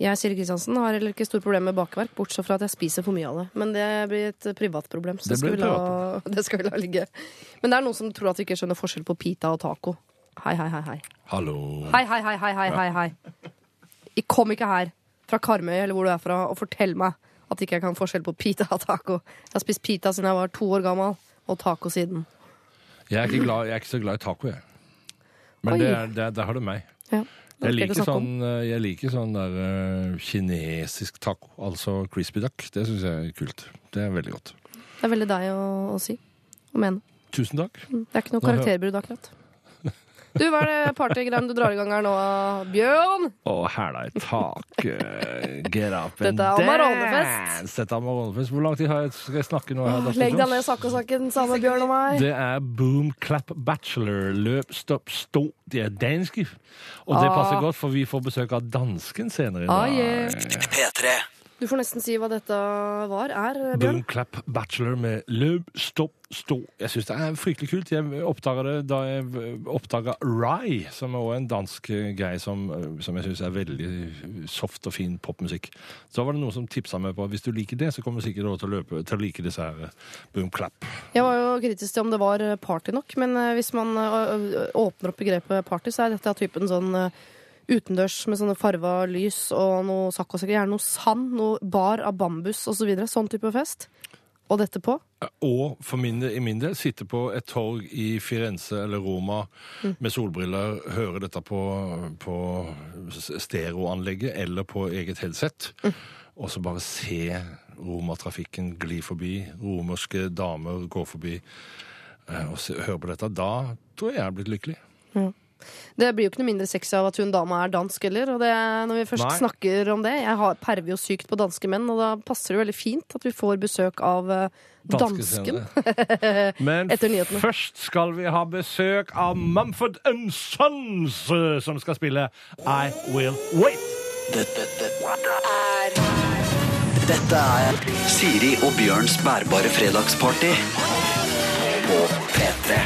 S3: Jeg Siri Kristiansen, har heller ikke store problemer med bakverk, bortsett fra at jeg spiser for mye av det. Men det blir et eh, privat problem, så
S4: Det
S3: det skal,
S4: blir
S3: vi la, det skal vi la ligge. Men det er noen som tror at vi ikke skjønner forskjell på pita og taco. Hei, hei, hei. Hei,
S4: Hallo.
S3: hei, hei, hei, hei, hei, hei, hei. Jeg kom ikke her fra Karmøy eller hvor du er fra, og fortell meg at ikke jeg kan forskjell på pita og taco. Jeg har spist pita siden jeg var to år gammel, og taco siden.
S4: Jeg er ikke, glad, jeg er ikke så glad i taco, jeg.
S3: Oi.
S4: Men det er, det, er- der har du meg.
S3: Ja, det
S4: Jeg
S3: skal ikke
S4: liker
S3: snakke om.
S4: sånn, eh, jeg liker sånn der eh, kinesisk taco, altså crispy duck. Det syns jeg er kult. Det er veldig godt.
S3: Det er veldig deg å, å si og mene.
S4: Tusen takk.
S3: Det er ikke noe
S4: Nå hø-
S3: karakterbrudd akkurat. Du, hva er det partygreiene du drar i gang her nå, Bjørn?
S4: Og hæla i
S3: eh,
S4: taket. Get up and
S3: Dette er Amaronefest.
S4: dance. Dette er Amaronefest. Hvor lang tid har jeg, skal jeg snakke nå? her, Dr.
S3: Legg deg
S4: Jones?
S3: ned i sakkosaken sammen med Bjørn og meg.
S4: Det er Boom Clap Bachelor. Løp, stopp, stå. De er danske. Og det passer godt, for vi får besøk av dansken senere i
S3: Ah,
S4: dag.
S3: yeah.
S1: P3.
S3: Du får nesten si hva dette var, er, Bjørn.
S4: Boom Clap Bachelor med Løp, stopp, stå. Jeg syns det er fryktelig kult. Jeg oppdaga det da jeg oppdaga Rye, som er også en dansk eh, guy som, eh, som jeg syns er veldig soft og fin popmusikk. Så var det noen som tipsa meg på at hvis du liker det, så kommer du sikkert også til å, løpe, til å like disse her eh, Boom Clap.
S3: Jeg var jo kritisk til om det var eh, party nok, men eh, hvis man eh, ø- ø- åpner opp begrepet party, så er dette av typen sånn eh, utendørs med sånne farva lys og noe saccosekker, gjerne noe sand, noe bar av bambus osv. Så videre. sånn type fest. Og dette på.
S4: Og for min, i min del sitte på et torg i Firenze eller Roma
S3: Mm.
S4: med solbriller, høre dette på, på s- stereoanlegget eller på eget headset,
S3: Mm.
S4: og så bare se romatrafikken gli forbi, romerske damer gå forbi eh, og se, høre på dette. Da tror jeg jeg er blitt lykkelig.
S3: Det blir jo ikke noe mindre sexy av at hun dama er dansk heller. Og det, når vi først
S4: Nei.
S3: snakker om det Jeg har perver jo sykt på danske menn, og da passer det veldig fint at vi får besøk av eh, dansken.
S4: scener. Men
S3: Etter nyhetene.
S4: først skal vi ha besøk av Mumford and Sons, eh, som skal spille I Will Wait.
S1: Dette, dette er Dette er Siri og Bjørns bærbare fredagsparty på P3.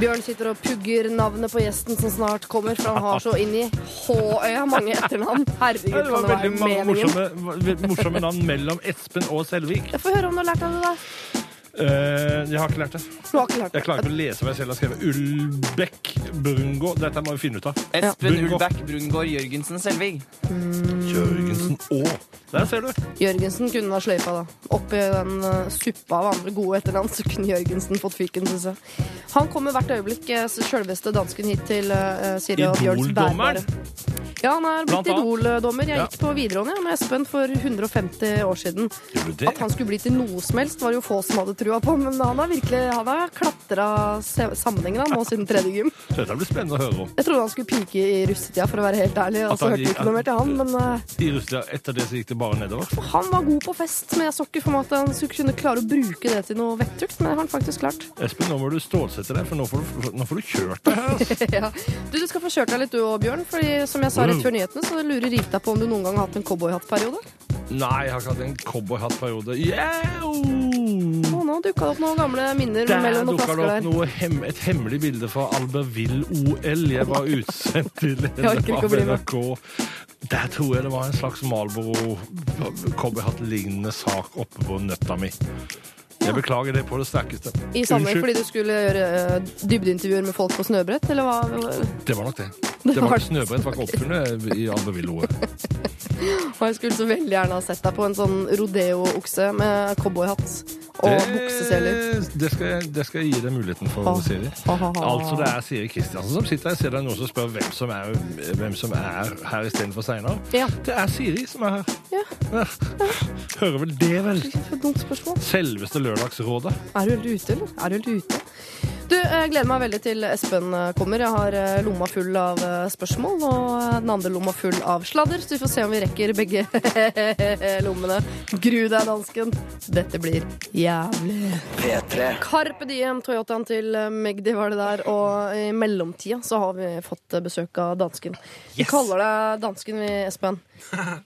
S3: Bjørn sitter og pugger navnet på gjesten som snart kommer, for han har så inn i Håøya mange etternavn. Herregud,
S4: Ja, Det
S3: kan
S4: var
S3: det
S4: veldig
S3: være
S4: mange
S3: meningen?
S4: morsomme, ve- morsomme navn mellom Espen og Selvik.
S3: Jeg får høre om du har lært av det, da.
S4: Eh, jeg har ikke lært det.
S3: Du har ikke lært
S4: Jeg klarer
S3: det.
S4: ikke å lese hva jeg selv har skrevet. Ulbekk Brungo. Dette må vi finne ut av.
S2: Espen
S4: Brungaard.
S2: Ulbæk Brungård Jørgensen Selvig.
S4: Jørgensen Aa. Der ser du.
S3: Jørgensen kunne ha sløyfa, da. Oppi den eh, suppa av andre gode etternavn, så kunne Jørgensen fått fyken, syns jeg. Han kommer hvert øyeblikk, eh, sjølveste dansken, hit til eh, Siri og Bjørns
S4: Idoldommeren.
S3: bærbare. Ja, han er blitt
S4: Blant
S3: Idol-dommer. Jeg
S4: Ja.
S3: gikk på videregående ja, med Espen for 150 år siden.
S4: Gjorde du det?
S3: At han skulle bli til noe som helst, var det jo få som hadde trua på. Men han har virkelig han har klatra sammenhengen han, nå siden tredje gym.
S4: Så Dette blir spennende å høre om.
S3: Jeg trodde han skulle pike i russetida, for å være helt ærlig. Og
S4: At
S3: så
S4: han
S3: hørte vi
S4: gikk-
S3: ikke noe mer til han. Men eh,
S4: I Russland etter det så gikk det bare nedover.
S3: han var god på fest, men jeg så ikke for meg at han skulle kunne klare å bruke det til noe vettug. Men det har han faktisk klart.
S4: Espen, nå må du stålsette deg, for nå får du, nå får du kjørt deg her. altså.
S3: ja. Du, du skal få kjørt deg litt du òg, Bjørn. Fordi som jeg sa
S4: Mm.
S3: rett før nyhetene, så lurer Rita på om du noen gang har hatt en cowboyhattperiode.
S4: Nei, jeg har ikke hatt en cowboyhattperiode. Yeah!
S3: Å, nå dukka det opp noen gamle minner
S4: Der
S3: mellom noen
S4: dukka det
S3: flasker
S4: opp
S3: der.
S4: noe hem, et hemmelig bilde fra Albertville-OL. Jeg var utsendt til
S3: orker ikke å bli med.
S4: NRK. Der tror jeg det var en slags Malboro-cowboyhatt-lignende sak oppe på nøtta mi. Jeg beklager det på det sterkeste.
S3: I Sandøy
S4: Unnskyld.
S3: fordi du skulle gjøre eh, dybdeintervjuer med folk på snøbrett, eller hva?
S4: Det var nok det.
S3: Det
S4: Det var
S3: var-
S4: ikke snøbrett, var ikke oppfunnet i Albertville-OL.
S3: Og jeg skulle så veldig gjerne ha sett deg på en sånn rodeo-okse med cowboyhatt og bukseseler.
S4: det, skal jeg- det skal jeg gi deg muligheten for,
S3: Ah.
S4: Siri.
S3: Ah.
S4: Altså, det er Siri Kristiansen som sitter her. Jeg ser det er noen som spør hvem som er, hvem som er her istedenfor Steinar.
S3: Ja.
S4: Det er Siri som er her.
S3: Ja,
S4: Hører vel det, vel?
S3: det er et dumt spørsmål.
S4: Selveste Lørdagsrådet.
S3: Er du helt ute, eller? Er du helt ute? Du, jeg gleder meg veldig til Espen eh, kommer. Jeg har eh, lomma full av eh, spørsmål, og eh, den andre lomma full av sladder, så vi får se om vi rekker begge lommene. Gru deg, dansken. Dette blir jævlig.
S1: P3.
S3: Carpe Diem, Toyotaen til eh, Magdi var det der, og i mellomtida så har vi fått eh, besøk av dansken. Vi kaller deg dansken, vi, Espen.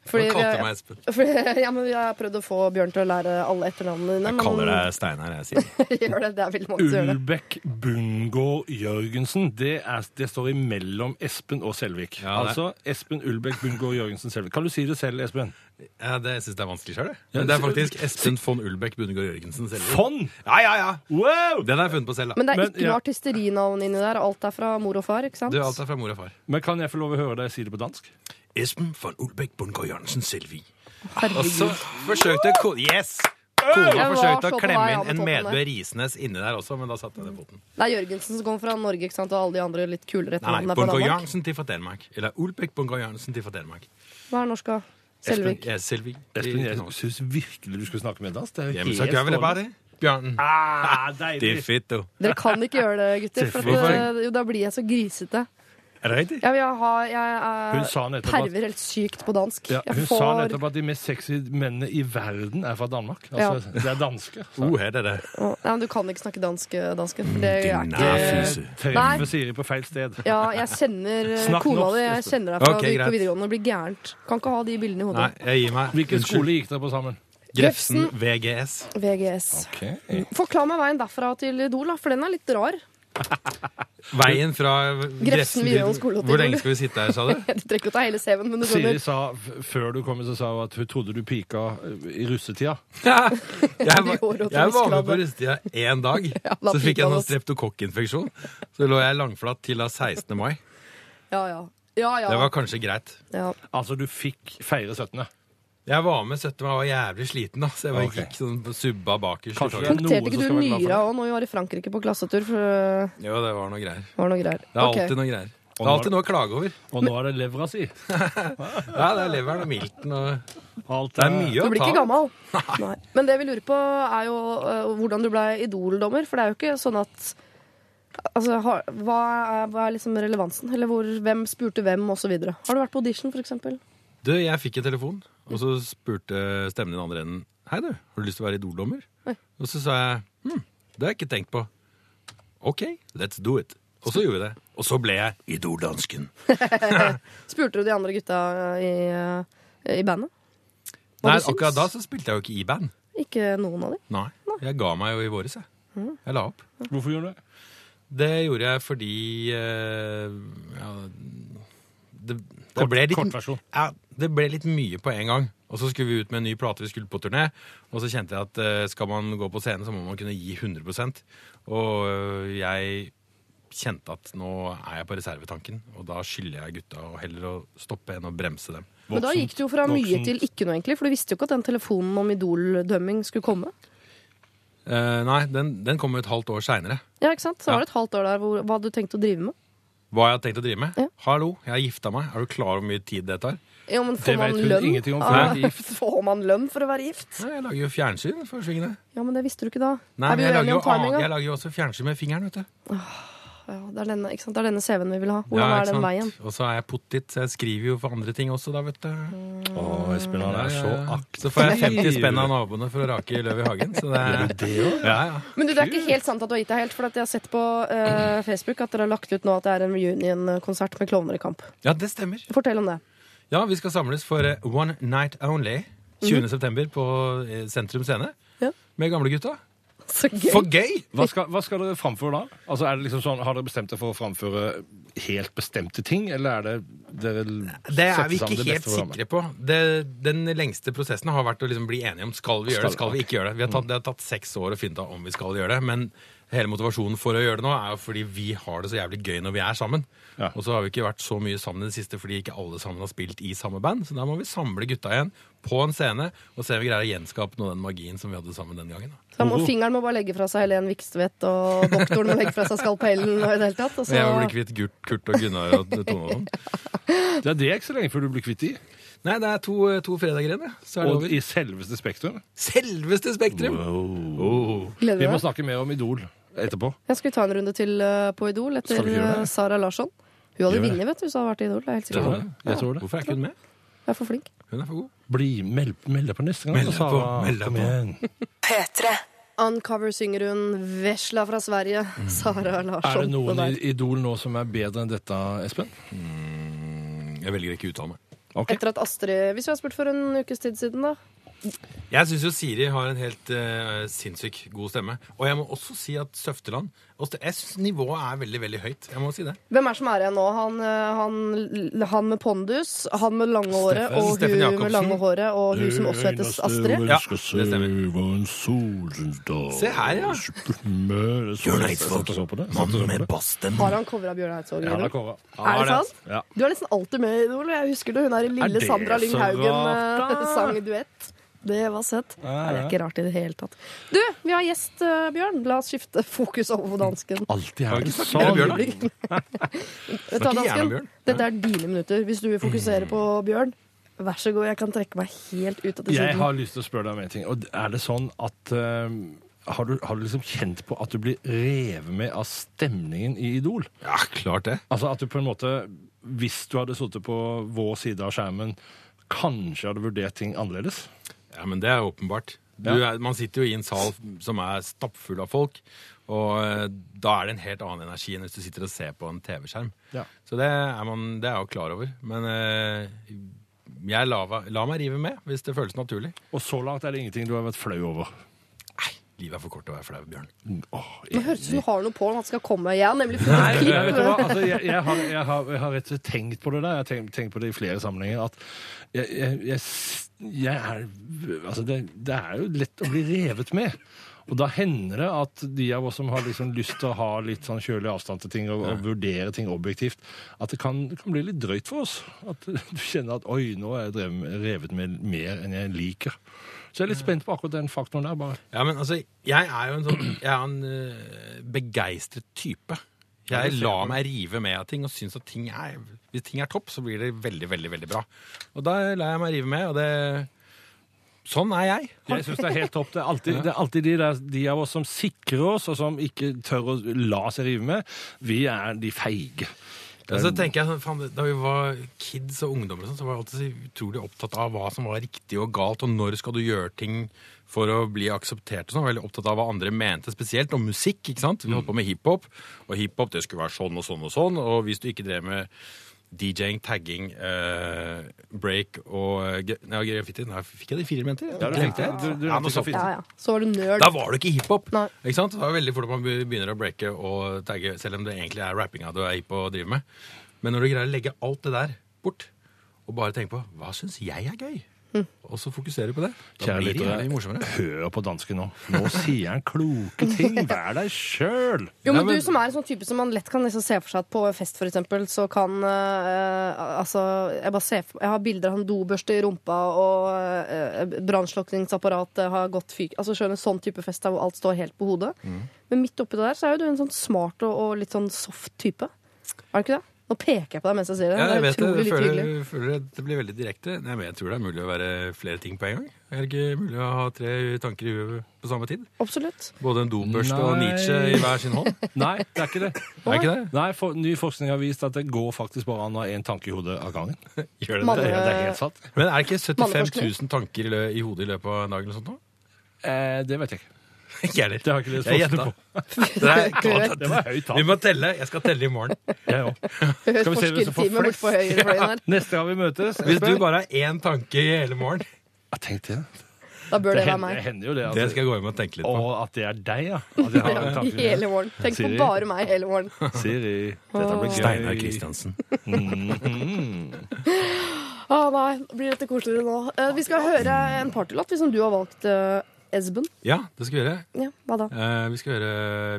S3: Fordi
S5: Han kalte
S3: vi-
S5: meg Espen.
S3: Fordi, ja, men vi har prøvd å få Bjørn til å lære alle etternavnene dine.
S5: Jeg
S3: men
S5: kaller
S3: han
S5: deg Steinar, jeg sier.
S3: gjør det, det er veldig mange som gjør det.
S4: Ulbekk Bungård Jørgensen. Det, er, det står imellom Espen og Selvik.
S5: Ja, det-
S4: altså Espen Ulbekk Bungård Jørgensen Selvik. Kan du si det selv, Espen?
S5: Ja, det syns jeg er vanskelig sjøl, jeg. Men det er faktisk Espen von Ulbæk Bundegård Jørgensen selv.
S4: Fond!
S5: Ja, ja, ja!
S4: Wow!
S5: Den har jeg funnet på selv, da.
S3: Men det er
S4: Men,
S3: ikke
S4: ja.
S3: noe artisterinavn inni der. Alt er fra mor og far, ikke sant?
S5: Du, alt er fra mor og far.
S4: Men kan jeg få lov å høre deg si det på dansk?
S6: Esben von Ulbæk Bundgaard Jørgensen Selvi.
S5: Og så forsøkte ko Yes! Kona
S3: Jeg var så
S5: forsøkte
S3: på
S5: å
S3: vei, ja,
S5: klemme
S3: på
S5: inn en
S3: toppen
S5: Medbø
S3: der.
S5: Risnes inni der også, men da satte jeg ned foten.
S3: Det er Jørgensen som kommer fra Norge, ikke sant? og alle de andre litt kulere
S5: Nei,
S3: etternavnene er
S5: nei.
S3: fra
S5: Bundgaard
S3: Danmark.
S5: Jørgensen til fra Danmark. Eller Ulbæk Bundgaard Jørgensen til fra Danmark.
S3: Hva er norsk, da?
S5: Espen,
S3: Selvik.
S5: ja, Selvig.
S4: Espen, jeg
S5: Jamen,
S4: syns virkelig du skulle snakke med dansk. Det er jo
S5: så
S4: helt
S5: gjør vi det bare,
S4: strålende.
S5: det. Bjørnen.
S4: Ah,
S5: Det er
S4: deilig.
S5: fett, du.
S3: Dere kan ikke gjøre det, gutter. For at,
S5: Selvfølgelig.
S3: eh, jo, da blir jeg så grisete.
S5: Er det riktig?
S3: Ja, men jeg, har, jeg er
S4: Hun sa nettopp at-
S3: perver helt sykt på dansk.
S4: Ja,
S3: jeg
S4: hun sa nettopp at de mest sexy mennene i verden er fra Danmark. Altså, De er danske. sa hun.
S5: Oh, er det det?
S3: Å, Nei, men du kan ikke snakke dansk, eh, dansken. For
S4: Mm,
S3: det er
S6: Din
S3: ikke
S4: Eh,
S6: nærfise.
S3: Nei.
S4: Treffer Siri på feil sted.
S3: ja, jeg kjenner eh,
S4: Snakk
S3: kona
S4: norsk,
S3: di. Jeg kjenner deg fra
S5: Ok,
S3: vi gikk
S5: greit.
S3: på videregående og blir gærent. Kan ikke ha de bildene i
S5: Nei,
S3: hodet.
S5: jeg gir meg.
S4: Hvilken
S5: Unnskyld.
S4: skole gikk dere på sammen?
S5: Grefsen VGS.
S3: VGS. Forklar meg veien derfra til Idol, da, for den er litt rar.
S5: Veien fra Grefsen
S3: videregående
S5: til-
S3: skole og til Idol.
S5: Hvor lenge skal vi sitte her, sa du?
S3: Du trenger ikke å ta hele CV-en, men du
S4: Siri
S3: skjønner.
S4: sa f- før du kom, så sa hun at hun trodde du pika eh, i russetida.
S5: Jeg,
S3: De går
S5: var-
S3: og
S5: jeg var med
S3: tømmerskladder.
S5: på rustetida én dag.
S3: da
S5: Så fikk jeg
S3: fikk han
S5: noen
S3: oss.
S5: streptokokkinfeksjon. Så lå jeg langflat til da 16. mai.
S3: Ja, ja. Ja, ja.
S5: Det var kanskje greit.
S3: ja.
S4: Altså, du fikk feire 17.
S5: Jeg var med 17, men jeg var jævlig sliten, da. Så jeg var
S4: Ok.
S5: gikk sånn på subba bakerst. i
S4: Kanskje
S5: toget.
S4: det-
S3: Punkterte
S4: noe
S3: ikke
S4: som
S3: du
S4: skal være glad for
S3: nyra òg når vi var i Frankrike på klassetur? For eh,
S5: Jo, det var noe greier.
S3: det var noe greier.
S5: Det er
S3: Ok.
S5: alltid noe greier. Det
S4: Og
S5: er
S4: nå-
S5: alltid noe å klage over.
S4: Og nå er det levra si.
S5: Ja, det er leveren og milten og
S4: Alt
S5: Det er mye
S3: Du
S5: å
S3: blir
S5: ta.
S3: ikke gammel. Nei. Men det vi lurer på, er jo eh, hvordan du ble Idol-dommer. For det er jo ikke sånn at Altså, har, hva, er, hva er liksom relevansen? Eller hvor, hvem spurte hvem, og så videre Har du vært på audition, for eksempel?
S5: Du, jeg fikk en telefon, og så spurte stemmen i den andre enden Hei, du, har du lyst til å være idoldommer? Og så sa jeg hm, det har jeg ikke tenkt på. OK, let's do it. Og så gjorde vi det. Og så ble jeg idoldansken.
S3: Spurte du de andre gutta i, eh, i bandet? Hva
S5: Nei,
S3: du syns?
S5: akkurat da så spilte jeg jo ikke i band.
S3: Ikke noen av dem?
S5: Nei. Jeg ga meg jo i våres, jeg. Jeg la opp.
S4: Hvorfor gjorde du det?
S5: Det gjorde jeg fordi eh, ja, det, det
S4: Kort-
S5: ble litt,
S4: kortversjon.
S5: Ja, det ble litt mye på en gang. Og så skulle vi ut med en ny plate, vi skulle på turné. Og så kjente jeg at eh, skal man gå på scenen, så må man kunne gi 100 Og eh, jeg kjente at nå er jeg på reservetanken, og da skylder jeg gutta å heller å stoppe enn å bremse dem.
S3: Men da
S4: Voksen-
S3: gikk det jo fra mye
S4: voksen-
S3: til ikke noe, egentlig. For du visste jo ikke at den telefonen om Idol-dømming skulle komme.
S5: Eh, nei, den, den kom jo et halvt år seinere.
S3: Ja, ikke sant? Så
S5: Ja.
S3: var det et halvt år der hvor, hva hadde du tenkt å drive med.
S5: Hva jeg hadde tenkt å drive med?
S3: Ja.
S5: Hallo, jeg har gifta meg. Er du klar over hvor mye tid det tar?
S3: Ja, men
S4: Det
S3: får man
S4: vet hun
S3: lønn?
S4: ingenting om før
S3: Ah,
S4: hun er gift.
S3: får man lønn for å være gift?
S5: Nei, jeg lager jo fjernsyn for svingene.
S3: Ja, men det visste du ikke da.
S5: Nei,
S3: er vi
S5: men jeg lager,
S3: uenige
S5: jo,
S3: om
S5: annet-
S3: timinga?
S5: jeg lager jo også fjernsyn med fingeren, vet du.
S3: Ja, det er denne, ikke sant? Det er denne CV-en vi vil ha. Hvordan
S5: Ja,
S3: er
S5: ikke
S3: den
S5: sant?
S3: veien?
S5: Og så er jeg pottit, så jeg skriver jo for andre ting også, da, vet du.
S4: Å, Espen, han er så aktiv.
S5: Så får jeg 50 spenn av naboene for å rake løv i hagen. Så det er det ja, ja.
S3: Men du, det er ikke helt sant at du har gitt deg helt, for at jeg har sett på eh, Facebook at dere har lagt ut nå at det er en reunion-konsert med Klovner i kamp.
S5: ja, det stemmer.
S3: Fortell om det.
S5: Ja, vi skal samles for eh, One Night Only
S3: Mhm.
S5: 20. september på eh, Sentrum Scene.
S3: Ja.
S5: Med gamlegutta.
S3: Så gøy.
S5: For gøy!
S4: Hva skal, hva skal dere framføre da? Altså, er det liksom sånn, Har dere bestemt dere for å framføre helt bestemte ting, eller er det dere
S5: Det er vi ikke helt sikre på. Det, den lengste prosessen har vært å liksom bli enige om skal vi gjøre det,
S4: Skal-
S5: skal vi ikke gjøre det. Vi har tatt, det har tatt seks år å finne ut av om vi skal gjøre det, men hele motivasjonen for å gjøre det nå er jo fordi vi har det så jævlig gøy når vi er sammen.
S4: Ja.
S5: Og så har vi ikke vært så mye sammen i det siste fordi ikke alle sammen har spilt i samme band, så da må vi samle gutta igjen på en scene og se om vi greier å gjenskape noe av den magien som vi hadde sammen den gangen. Da.
S3: Så må, fingeren må bare legge fra seg Helen Vikstvedt, og doktoren må legge fra seg skalpellen og i det hele tatt. Og
S5: Og jeg ble
S3: så
S5: kvitt Gurt, Kurt og Gunnar og Tone og sånn.
S4: Det er det ikke så lenge før du blir kvitt de.
S5: Nei, det er to, to fredager igjen, ja. så er det
S4: Og
S5: over.
S4: i selveste Spektrum.
S5: Selveste Spektrum! Oh.
S4: Vi
S3: gleder
S4: må
S3: jeg meg.
S4: snakke mer om Idol etterpå.
S3: Jeg skulle ta en runde til eh, på Idol etter
S4: Skal vi gjøre det?
S3: eh, Sara Larsson. Hun hadde
S4: Gjør det.
S3: vunnet, vet du, hvis hun hadde vært i Idol. Det er jeg helt
S4: Jeg
S3: sikker
S4: tror
S3: på.
S4: det. Jeg tror det.
S5: Hvorfor er ikke hun med?
S3: Jeg er for flink.
S5: Hun er for god.
S4: Bli, meld, meld deg på neste gang.
S5: Meld deg
S4: Sara.
S5: på, meld deg
S4: Kom
S5: på.
S4: igjen.
S3: Uncover synger hun Vesla fra Sverige.
S5: Mm.
S3: Sara Larsson.
S4: Er det noen
S3: der.
S4: i Idol nå som er bedre enn dette, Espen?
S5: Jeg velger ikke å uttale meg.
S4: Ok.
S3: Etter at Astrid Hvis vi har spurt for en ukes tid siden, da.
S5: Jeg syns jo Siri har en helt eh, sinnssyk god stemme. Og jeg må også si at Søfteland også, Jeg syns nivået er veldig, veldig høyt. Jeg må si det.
S3: Hvem er det som er igjen nå? Han, eh, han, han med pondus, han med lange håret,
S5: Steffen-
S3: og
S5: Steffen
S3: hun
S5: Jacobsen.
S3: med lange håret, og hun som også heter Astrid.
S5: Ja, det stemmer. Se her, ja.
S6: Bjørn Eidsvåg, mannen med bassstemme.
S3: Har han covra Bjørn Eidsvåg?
S4: Ja,
S3: Lillo?
S4: det kommer.
S3: Er det sant?
S4: Ja.
S3: Du er nesten alltid med i Idol. Jeg husker det. Hun er i
S4: Er
S3: Lille
S4: det
S3: Sandra Lyng
S4: så rart,
S3: Haugen
S4: da?
S3: sang duett. Det var søtt.
S4: Ja,
S3: Nei, Det er
S4: ja.
S3: ikke rart i det hele tatt. Du, vi har gjest, eh, Bjørn. La oss skifte fokus over på dansken.
S4: Alltid her.
S5: Er det
S4: Sånn.
S5: Bjørn, da?
S3: Vet du hva,
S5: Snakker gjerne om
S3: dansken?
S5: Bjørn. Mm.
S3: Dette er dine minutter. Hvis du vil fokusere på Bjørn, vær så god. Jeg kan trekke meg helt ut av til
S4: Jeg
S3: siden.
S4: har lyst til å spørre deg om en ting. Og er det sånn at eh, har du, har du liksom kjent på at du blir revet med av stemningen i Idol?
S5: Ja, klart det.
S4: Altså at du på en måte, hvis du hadde sittet på vår side av skjermen, kanskje hadde vurdert ting annerledes?
S5: Ja, men det er åpenbart. Du
S4: Ja.
S5: er, man sitter jo i en sal som er stappfull av folk, og eh, da er det en helt annen energi enn hvis du sitter og ser på en TV-skjerm.
S4: Ja.
S5: Så det er, man, det er jeg jo klar over. Men eh, jeg la, la meg rive med hvis det føles naturlig.
S4: Og så langt er det ingenting du har vært flau over.
S5: Nei, livet er for kort til å være flau, Bjørn.
S4: Åh,
S3: Det høres ut som du har noe på når han skal komme. Jeg har nemlig funnet et
S4: Nei, vet du hva?
S3: klipp.
S4: Altså, jeg, jeg, har, jeg, har, jeg har rett og slett tenkt på det der. Jeg har tenkt, tenkt på det i flere sammenhenger. At jeg, jeg, jeg, s- jeg er Altså, det, det er jo lett å bli revet med. Og da hender det at de av oss som har liksom lyst til å ha litt sånn kjølig avstand til ting og, og vurdere ting objektivt, at det kan, det kan bli litt drøyt for oss. At du kjenner at 'oi, nå er jeg drevet med, revet med mer enn jeg liker'. Så jeg er litt spent på akkurat den faktoren der. bare.
S5: Ja, men altså, jeg er jo en sånn Jeg er en eh, begeistret type.
S4: Ja,
S5: Jeg
S4: det ser
S5: lar
S4: jeg på.
S5: meg rive med av ting og syns at ting er Hvis ting er topp, så blir det veldig, veldig veldig bra. Og da lar jeg meg rive med, og det Sånn er jeg.
S4: Jeg synes det er helt topp. Det er alltid, det er alltid de, der, de av oss som sikrer oss, og som ikke tør å la seg rive med. Vi er de feige.
S5: Og så tenker jeg sånn, faen, Da vi var kids og ungdommer, og sånn, så var jeg alltid så utrolig opptatt av hva som var riktig og galt, og når skal du gjøre ting for å bli akseptert. og sånn, Veldig opptatt av hva andre mente, spesielt om musikk. ikke sant? Vi holdt på med hiphop, og hiphop det skulle være sånn og sånn og sånn. Og hvis du ikke drev med DJ-ing, tagging, eh, break og eh, gra- nei, graffiti Nei, fikk jeg de fire elementer?
S4: Ja, du fikk det. Du- du-
S5: ja, noe sånt.
S3: Ja, ja. Så var du nerd.
S5: Da var det ikke hiphop.
S3: Nei.
S5: Ikke sant? Det er veldig fort at man begynner å breake og tagge, selv om det egentlig er rappinga du er hipp og driver med. Men når du greier å legge alt det der bort, og bare tenke på hva syns jeg er gøy,
S3: Mm.
S5: og så fokuserer du på det, da
S4: Kjære
S5: blir det
S4: lyttere,
S5: jævlig morsommere.
S4: hør på dansken nå. Nå sier han kloke ting. Vær deg sjøl!
S3: Jo, men
S5: Nei, men-
S3: du som er en sånn type som man lett kan liksom se for seg at på fest, for eksempel, så kan eh, Altså, jeg bare ser for Jeg har bilder av en dobørste i rumpa, og uh, brannslukningsapparatet har gått fyk... Altså, skjønner, sånn type fest der hvor alt står helt på hodet.
S4: Mm.
S3: Men midt oppi det der så er jo du en sånn smart og, og litt sånn soft type. Er du ikke det? Nå peker jeg på deg mens jeg sier det.
S5: Ja, jeg
S3: det er
S5: vet det.
S3: utrolig
S5: Jeg
S3: lite
S5: føler,
S3: hyggelig.
S5: føler at det blir veldig direkte. Nei, men jeg tror det er mulig å være flere ting på en gang. Er det ikke mulig å ha tre tanker i huet på samme tid?
S3: Absolutt.
S5: Både en dobørste og
S4: Nei.
S5: Nietzsche i hver sin hånd?
S4: Nei, det er ikke det.
S5: Er ikke det?
S4: Nei, for, Ny forskning har vist at det går faktisk bare an å ha én tanke i hodet av gangen.
S5: Gjør det
S3: Mann-
S5: det?
S4: Det er, det er helt sant.
S5: Men er det ikke 75
S3: Manneforskning.
S5: 000 tanker i lø- i hodet i løpet av en dag eller noe sånt nå?
S4: Eh, det vet jeg ikke.
S5: Ikke jeg heller.
S4: Det har jeg ikke lest
S5: Jeg
S4: forskning
S5: gjetter.
S4: på.
S5: Det er klart at-
S4: Det var høyt
S5: Vi
S4: tall.
S5: må telle. Jeg skal telle i morgen.
S4: Jeg òg.
S3: Hørt
S4: Skal vi se hvem som får
S3: forskerteamet bort på
S4: flest?
S3: høyrefløyen her.
S4: Neste gang vi møtes
S5: Hvis du bare har én tanke i hele morgen
S4: Ja, Tenk det.
S3: Da bør
S4: Det
S3: det være
S4: hender, det
S3: meg.
S4: hender jo det. at-
S5: Det skal jeg gå hjem og tenke litt på.
S4: Og at det er deg, ja. At jeg har den tanken.
S3: Hele våren. Tenk på
S4: Siri.
S3: bare meg hele våren.
S4: Siri, dette blir gøy.
S5: Steinar Kristiansen.
S3: Å nei, blir dette koseligere nå. Eh, vi skal høre en partylåt vi, som du har valgt, eh, Esben.
S5: Ja, det skal vi gjøre.
S3: Ja, hva da?
S5: Eh, vi skal gjøre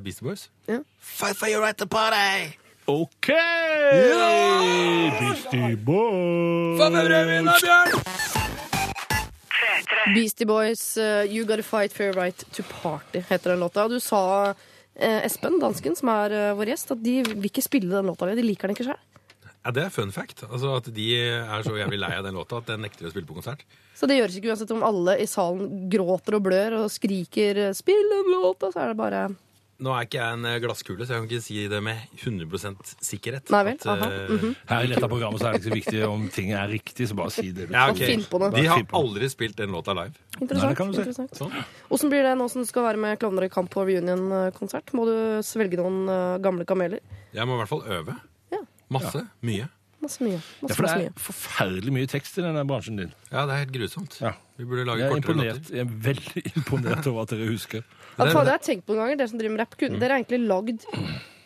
S5: Beastie Boys.
S3: Ja.
S5: Fight for your right to party!
S4: OK! Beastie Boys.
S3: Beastie Boys, eh, You Gotta Fight for Your Right to Party, heter den låta. Og Du sa, eh, Espen, dansken, som er eh, vår gjest, at de vil ikke spille den låta. De liker den ikke sjøl.
S5: Ja, det er fun fact. Altså At de er så jævlig lei av den låta at den nekter de å spille på konsert.
S3: Så det gjøres ikke uansett om alle i salen gråter og blør og skriker eh, 'spill den låta', så er det bare
S5: Nå er ikke jeg en eh, glasskule, så jeg kan ikke si det med 100 sikkerhet.
S3: Nei vel,
S5: At, eh,
S3: aha, Mhm.
S4: Her i dette programmet så er det ikke så viktig om ting er riktig, så bare si det. du-
S5: ja, ok.
S3: Finn på det.
S5: De har
S4: Finn på
S5: aldri spilt den låta
S4: Nei,
S5: live.
S4: det
S3: interessant.
S4: kan du si.
S3: interessant.
S5: Sånn.
S3: Åssen blir det nå som du skal være med Klovner i kamp på reunion-konsert? Må du svelge noen eh, gamle kameler?
S5: Jeg må i hvert fall øve.
S3: Ja.
S5: Masse. Mye.
S3: Masse mye.
S4: Ja,
S3: Masse,
S4: for det
S3: masse
S4: er
S3: mye.
S4: forferdelig mye tekst i denne bransjen din.
S5: Ja, det er helt grusomt.
S4: Ja.
S5: Vi burde
S4: Jeg
S5: lage
S4: er,
S5: kortere
S4: imponert.
S5: låter.
S4: jeg er veldig imponert over at dere husker.
S3: Ja,
S5: det-
S3: faen, det har jeg tenkt på noen ganger, Dere som driver med rap, kun- dere har egentlig lagd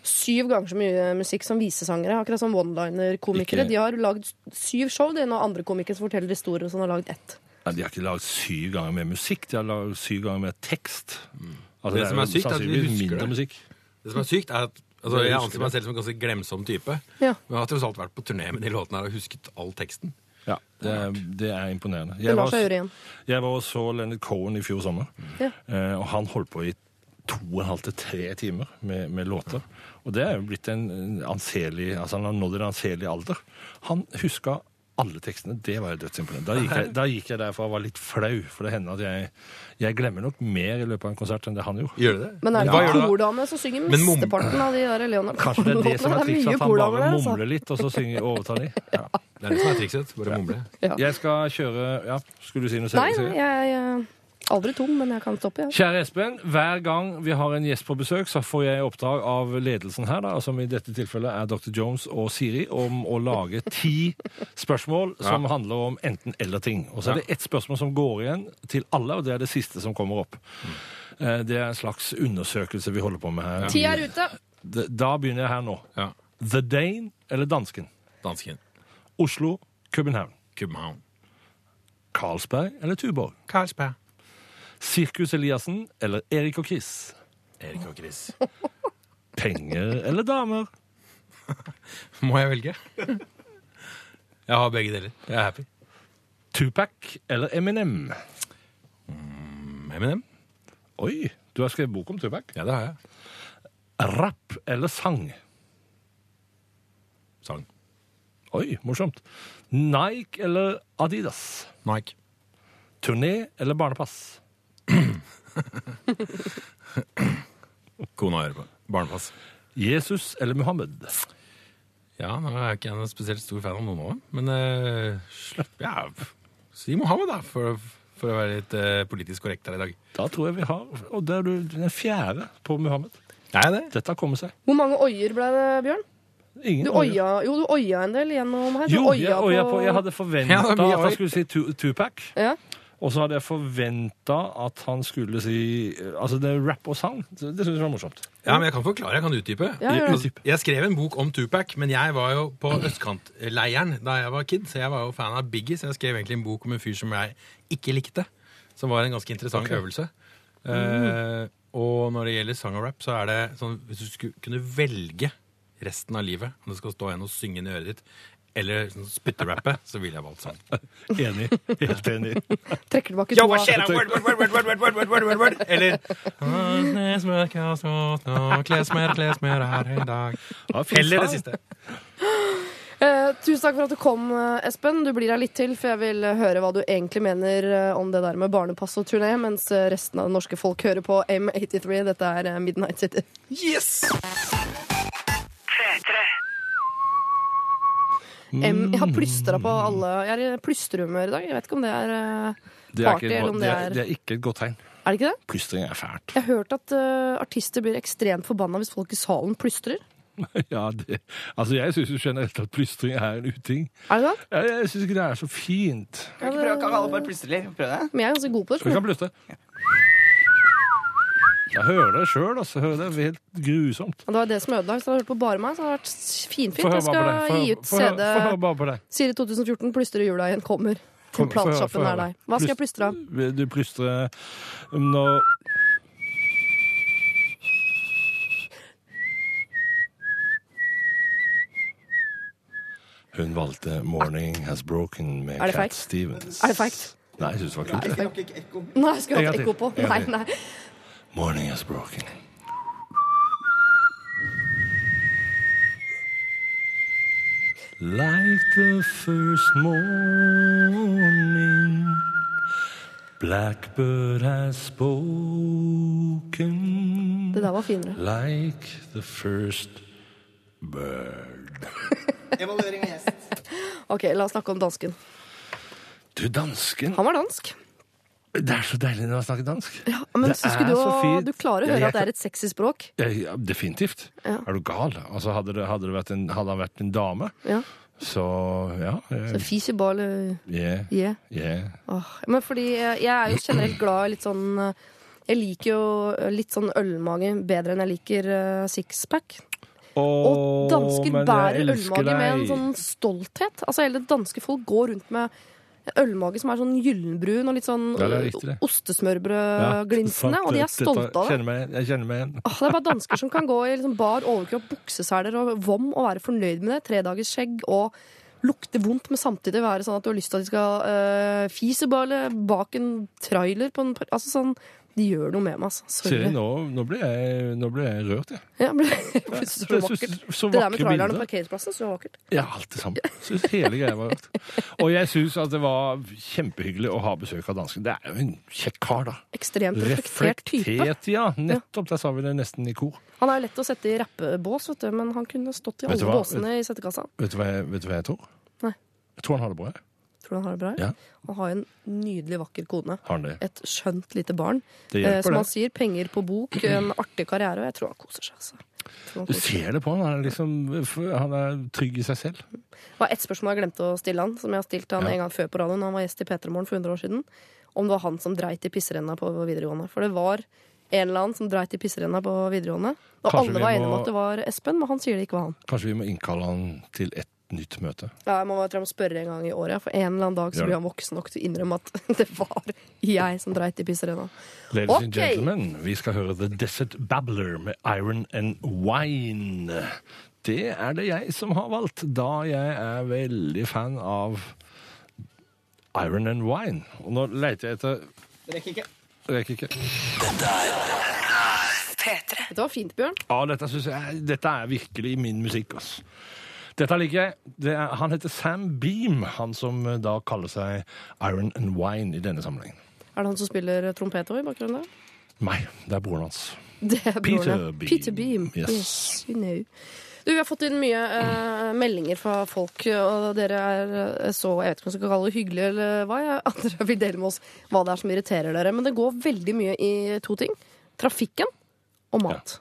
S3: syv ganger så mye musikk som visesangere. Akkurat som one-liner-komikere.
S4: Ikke-
S3: De har lagd syv show, det er noen andre komikere som forteller historier, og sånn har lagd ett.
S4: Nei, de har ikke lagd syv ganger mer musikk, de har lagd syv ganger mer tekst. Altså,
S5: Mm. Det som
S4: jo
S5: er sykt er at vi
S4: sannsynligvis
S5: husker
S4: mindre
S5: det.
S4: musikk.
S5: Det som er sykt, er at altså,
S4: Det
S5: jeg
S4: husker
S5: anser meg selv som en ganske glemsom type.
S3: Ja.
S5: Men jeg har tross alt vært på turné med de låtene her og husket all teksten.
S4: Ja, det, er- det er imponerende.
S3: Det
S4: Jeg
S3: lar
S4: var,
S3: seg gjøre igjen.
S4: jeg var og så Leonard Cohen i fjor sommer.
S3: Ja.
S4: Eh, Og han holdt på i to og en halv til tre timer med, med låter. Og det er jo blitt en en anselig Altså han har nådd en anselig alder. Han huska alle tekstene. Det var jo dødsimponerende. Da, gikk jeg- da gikk jeg derfra og var litt flau, for det hender at jeg, jeg glemmer nok mer i løpet av en konsert enn det han gjorde.
S5: Gjør du det?
S3: Men er det
S5: Hva gjør du
S3: ikke
S5: da?
S3: kordame som synger
S5: Men mom-
S3: mesteparten av de der Leonard
S4: Kanskje det er det som er
S3: Cohen-låtene?
S4: trikset, at han
S3: kordamer
S4: bare
S3: der, altså.
S4: mumler litt, og så synger overtar de.
S5: Det er det som er trikset. Bare mumle.
S4: Jeg skal kjøre Ja, skulle du si noe selv?
S3: Nei,
S4: Sigrid?
S3: nei, jeg er aldri tom, men jeg kan stoppe, jeg.
S4: Kjære Espen, hver gang vi har en gjest på besøk, så får jeg i oppdrag av ledelsen her, da, som i dette tilfellet er Dr. Jones og Siri, om å lage ti spørsmål som handler om enten-eller-ting. Og så er det ett spørsmål som går igjen til alle, og det er det siste som kommer opp.
S3: Mm.
S4: Eh, Det er en slags undersøkelse vi holder på med her.
S3: Ti er ute.
S4: D- Da begynner jeg her nå.
S5: Ja.
S4: The Dane eller dansken?
S5: Dansken.
S4: Oslo, København.
S5: København.
S4: Carlsberg eller Tuborg?
S5: Karlsberg.
S4: Sirkus Eliassen eller Erik og Chris?
S5: Erik og Chris.
S4: Penger eller damer?
S5: Må jeg velge? Jeg har begge deler. Jeg er happy.
S4: Tupac eller Eminem?
S5: Eminem?
S4: Oi, du har skrevet bok om Tupac.
S5: Ja, det har jeg.
S4: Rapp eller sang?
S5: Sang.
S4: Oi, morsomt. Nike eller Adidas?
S5: Nike.
S4: Turné eller barnepass?
S5: Kona hører på. Barnepass.
S4: Jesus eller Muhammed?
S5: Ja, nå er jeg ikke en spesielt stor fan av noen av dem, men eh, slipp ja, f- Si Mohammed, da, for, for å være litt eh, politisk korrekt her i dag.
S4: Da tror jeg vi har Og der er du den fjerde på Muhammed.
S5: Er jeg det?
S4: Dette har kommet seg.
S3: Hvor mange oier ble det, Bjørn?
S4: Ingen
S3: Du
S4: øye.
S3: oia, jo, du oia en del gjennom her. Du
S4: Jo, jeg,
S3: oia
S4: øya
S3: på
S4: på, jeg hadde forventa
S5: Ja, det er mye
S4: at han
S5: øy.
S4: skulle si Tu- Tupac.
S3: ja.
S4: Og så hadde jeg forventa at han skulle si Altså, det er rap og sang. Det syns jeg var morsomt.
S5: Ja, men Jeg kan forklare, jeg kan utdype.
S3: Ja, gjør det.
S5: Altså, Jeg skrev en bok om Tupac, men jeg var jo på østkantleiren da jeg var kid. Så jeg var jo fan av Biggie, så jeg skrev egentlig en bok om en fyr som jeg ikke likte. Som var en ganske interessant øvelse. Eh, og når det gjelder sang og rap, så er det sånn hvis du skulle kunne velge resten av livet, om det skal stå en og synge inn i øret ditt, eller sånn spytterappe, så ville jeg valgt sang.
S4: Enig. Helt enig.
S3: Trekker tilbake
S5: Yo,
S3: to
S5: hva
S3: av
S5: skjer da? Word, word, word, word, word, word, word, word, word. Eller Klesmer, klesmer, klesmer er i dag.
S4: Ja, fin
S5: Eller det
S4: sang.
S5: siste.
S3: Eh, tusen takk for at du kom, eh, Espen. Du blir her litt til, for jeg vil eh, høre hva du egentlig mener eh, om det der med barnepass og turné, mens eh, resten av det norske folk hører på M83. Dette er eh, Midnight City. M jeg har plystra på alle Jeg er i plystrehumør i dag. Jeg vet ikke om det er eh,
S4: Det er,
S3: Party,
S4: ikke, et
S3: eller
S4: godt-
S3: om
S4: det,
S3: det
S4: er,
S3: er-
S4: det er ikke et godt tegn.
S3: Er det ikke det?
S4: Plystring er fælt.
S3: Jeg har hørt at eh, artister blir ekstremt forbanna hvis folk i salen plystrer.
S4: Ja, det, altså jeg syns jo generelt at plystring er en uting.
S3: Er det det?
S4: Jeg, jeg syns ikke det er så fint.
S2: Kan ikke prøve, kan alle bare plutselig prøve det?
S3: Men jeg er ganske god på det.
S4: Vi kan
S3: skjønner du.
S4: plyste. Jeg hører det sjøl, altså. Hører det. det er helt grusomt.
S3: Og Det var det som ødela. Hvis du hadde hørt på bare meg, så hadde det vært s-
S4: Få
S3: finfint.
S4: høre
S3: Jeg
S4: bare på det. Få
S3: skal gi
S4: høre-
S3: ut
S4: få høre-
S3: CD
S4: få høre bare på det.
S3: Siri 2014, plystre jula igjen kommer. Til
S4: Kom, få høre- få
S3: platesjappen
S4: høre.
S3: er deg. Hva skal jeg plystre av?
S4: Vil Du plystrer når Hun valgte 'Morning Has Broken' med
S3: Er det
S4: Cat
S3: feigt?
S4: Stevens.
S3: Er det feigt?
S4: Nei, jeg syns det var kult. det.
S3: Nei, jeg skulle
S4: En
S3: jeg hatt
S4: gang
S3: ekko på.
S4: til. En
S3: Nei,
S4: gang til.
S3: nei.
S4: Morning is broken. Like the first morning, Blackbird has spoken.
S3: Det der var finere.
S4: Like the first bird.
S1: Evaluering av gjest.
S3: Ok, la oss snakke om dansken.
S4: Du, dansken.
S3: Han var dansk.
S4: Det er så deilig når man snakker dansk.
S3: Ja, men
S4: Det
S3: så
S4: er
S3: skulle du,
S4: så
S3: å-
S4: fint.
S3: du klarer å
S4: Ja,
S3: høre
S4: jeg
S3: at det er et sexy språk.
S4: Ja, Ja, definitivt.
S3: Ja.
S4: Er du gal? Altså, hadde, det, hadde, det vært en, hadde han vært en dame,
S3: Ja.
S4: så ja.
S3: Så
S4: eh,
S3: Fiseball eh,
S4: Yeah,
S3: yeah.
S4: yeah.
S3: Åh, Men fordi eh, jeg er jo generelt glad i litt sånn eh, Jeg liker jo eh, litt sånn ølmage bedre enn jeg liker eh, sixpack. Og dansker bærer ølmage med en sånn stolthet. Altså Hele det danske folk går rundt med en ølmage som er sånn gyllenbrun og litt sånn
S4: Ja, det er riktig, det.
S3: ostesmørbrødglinsende, øh, og de er stolte av det.
S4: Kjenner meg, igjen, jeg kjenner meg igjen.
S3: Åh, det er bare dansker som kan gå i liksom bar overkropp, bukseseler og vom og være fornøyd med det. Tredagers skjegg og lukte vondt, men samtidig være eh, sånn at du har lyst til at de skal øh, fise bare bak en trailer på en par Altså sånn De gjør noe med meg, altså. Sorry.
S4: Siri, nå, nå, ble jeg, nå ble jeg rørt, jeg.
S3: Ja, men jeg synes det er så
S4: Jeg
S3: vakkert.
S4: synes- så
S3: Det der med
S4: vakre
S3: traileren og
S4: bilder.
S3: parkeringsplassen, så vakkert.
S4: Ja, alt det samme. Synes hele greia var rart. Og jeg syns at det var kjempehyggelig å ha besøk av dansken. Det er jo en kjekk kar, da.
S3: Ekstremt reflektert type.
S4: Reflektert, ja. Nettopp. Der sa vi det nesten i kor.
S3: Han er jo lett å sette i rappebås, vet du, men han kunne stått i
S4: Vet du
S3: alle
S4: hva?
S3: båsene i settekassa.
S4: Vet du hva jeg, vet du hva jeg tror?
S3: Nei.
S4: Jeg tror han har det bra. jeg.
S3: Tror du han har det bra?
S4: Ja.
S3: Han har en nydelig, vakker kone.
S4: Har han det?
S3: Et skjønt lite barn.
S4: Det
S3: Eh,
S4: hjelper,
S3: som han
S4: det.
S3: sier, penger på bok, en artig karriere, og jeg tror han koser seg. Altså. Jeg tror han
S4: Du
S3: koser seg.
S4: ser det på han. Han er, liksom, han er trygg i seg selv.
S3: Det var ett spørsmål jeg glemte å stille han, som jeg har stilt han
S4: Ja.
S3: en gang før på radioen. Han var gjest i P3morgen for 100 år siden. Om det var han som dreit i pisserenna på videregående. For det var en eller annen som dreit i pisserenna på videregående. Og
S4: Kanskje
S3: alle
S4: vi
S3: var
S4: må-
S3: enige om at det var Espen, men han sier det ikke var han.
S4: Kanskje vi må innkalle han til et nytt møte.
S3: Ja, jeg må jeg tror jeg må spørre en gang i året, for en eller annen dag så
S4: Gjør
S3: blir
S4: det.
S3: han voksen nok til å innrømme at det var jeg som dreit i pisserenna.
S4: Ladies and
S3: Ok.
S4: gentlemen, vi skal høre The Desert Babbler med Iron and Wine. Det er det jeg som har valgt, da jeg er veldig fan av Iron and Wine. Og nå leter jeg etter
S1: Det rekker ikke.
S4: Rekker ikke.
S3: Dette var fint, Bjørn.
S4: Ja, dette, synes jeg, dette er virkelig min musikk, ass. Dette liker jeg. Det er, han heter Sam Beam, han som eh, da kaller seg Iron and Wine i denne sammenhengen.
S3: Er det han som spiller trompet også i bakgrunnen der?
S4: Nei, det er broren hans.
S3: Det er broren, ja.
S4: Peter Beam.
S3: Peter Beam.
S4: Yes.
S3: Yes. you know. Du, vi har fått inn mye eh, meldinger fra folk, og dere er eh, så jeg vet ikke om jeg skal kalle det hyggelig eller hva, jeg, at dere vil dele med oss hva det er som irriterer dere. Men det går veldig mye i to ting. Trafikken og mat.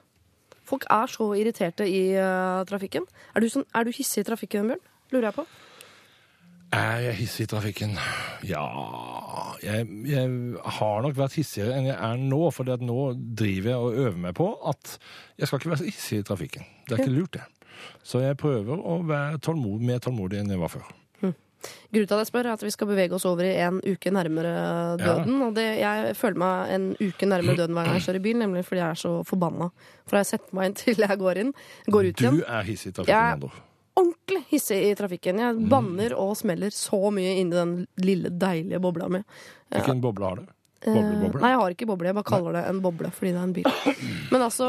S3: Folk er så irriterte i eh, trafikken. Er du, sånn, er du hissig i trafikken, Bjørn? Lurer jeg på.
S4: Er jeg hissig i trafikken? Ja jeg, jeg har nok vært hissigere enn jeg er nå, for nå driver jeg og øver meg på at jeg skal ikke være så hissig i trafikken. Det er ikke lurt, det. Så jeg prøver å være tålmod, mer tålmodig enn jeg var før.
S3: Grunnen til at jeg spør, er at vi skal bevege oss over i en uke nærmere døden. Og det, jeg føler meg en uke nærmere døden hver gang jeg kjører bil, nemlig fordi jeg er så forbanna. For jeg setter meg inn til jeg går inn, går ut
S4: Du
S3: igjen.
S4: er hissig i trafikken,
S3: Jeg-
S4: Andro.
S3: Ordentlig hissig i trafikken. Jeg
S4: Mm.
S3: banner og smeller så mye inni den lille, deilige bobla mi.
S4: Hvilken boble har du?
S3: Eh,
S4: Boble-boble?
S3: Nei, jeg har ikke boble. Jeg bare kaller det en boble fordi det er en bil. Men altså,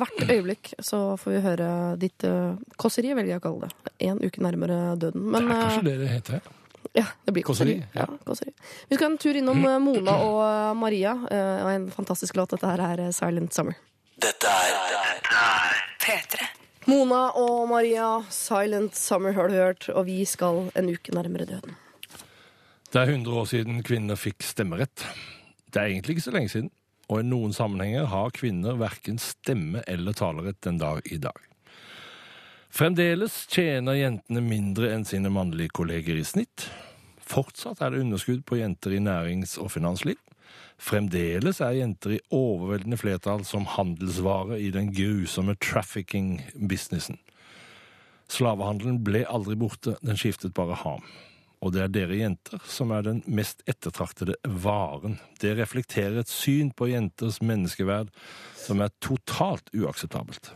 S3: hvert øyeblikk så får vi høre ditt eh, kåseri, velger jeg å kalle det. En uke nærmere døden.
S4: det
S3: Men
S4: er
S3: eh,
S4: kanskje det det heter.
S3: Ja, det blir kåseri.
S4: Kåseri, Mm.
S3: Ja, kåseri. Vi skal en tur innom eh, Mona og eh, Maria eh, og en fantastisk låt. Dette her er eh, Silent Summer. Dette er Mona og Maria, Silent Summer har du hørt, og vi skal en uke nærmere døden.
S4: Det er 100 år siden kvinner fikk stemmerett. Det er egentlig ikke så lenge siden, og i noen sammenhenger har kvinner verken stemme eller talerett den dag i dag. Fremdeles tjener jentene mindre enn sine mannlige kolleger i snitt. Fortsatt er det underskudd på jenter i nærings- og finansliv. Fremdeles er jenter i overveldende flertall som handelsvare i den grusomme trafficking-businessen. Slavehandelen ble aldri borte, den skiftet bare ham. Og det er dere jenter som er den mest ettertraktede varen. Det reflekterer et syn på jenters menneskeverd som er totalt uakseptabelt.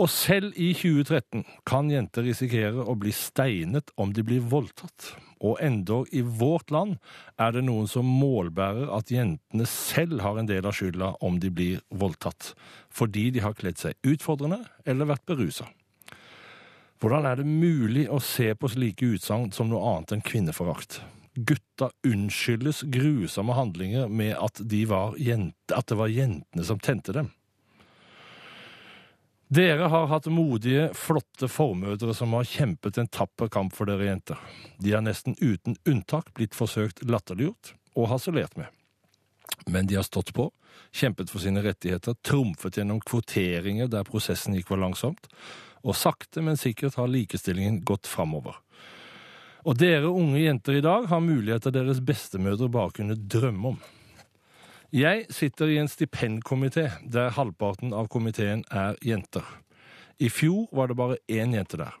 S4: Og selv i 2013 kan jenter risikere å bli steinet om de blir voldtatt. Og endog i vårt land er det noen som målbærer at jentene selv har en del av skylda om de blir voldtatt, fordi de har kledd seg utfordrende eller vært berusa. Hvordan er det mulig å se på slike utsagn som noe annet enn kvinneforakt? Gutta unnskyldes grusomme handlinger med at, de var jente, at det var jentene som tente dem. Dere har hatt modige, flotte formødre som har kjempet en tapper kamp for dere jenter. De har nesten uten unntak blitt forsøkt latterliggjort og harselert med. Men de har stått på, kjempet for sine rettigheter, trumfet gjennom kvoteringer der prosessen gikk for langsomt, og sakte, men sikkert har likestillingen gått framover. Og dere unge jenter i dag har muligheter deres bestemødre bare kunne drømme om. Jeg sitter i en stipendkomité der halvparten av komiteen er jenter. I fjor var det bare én jente der.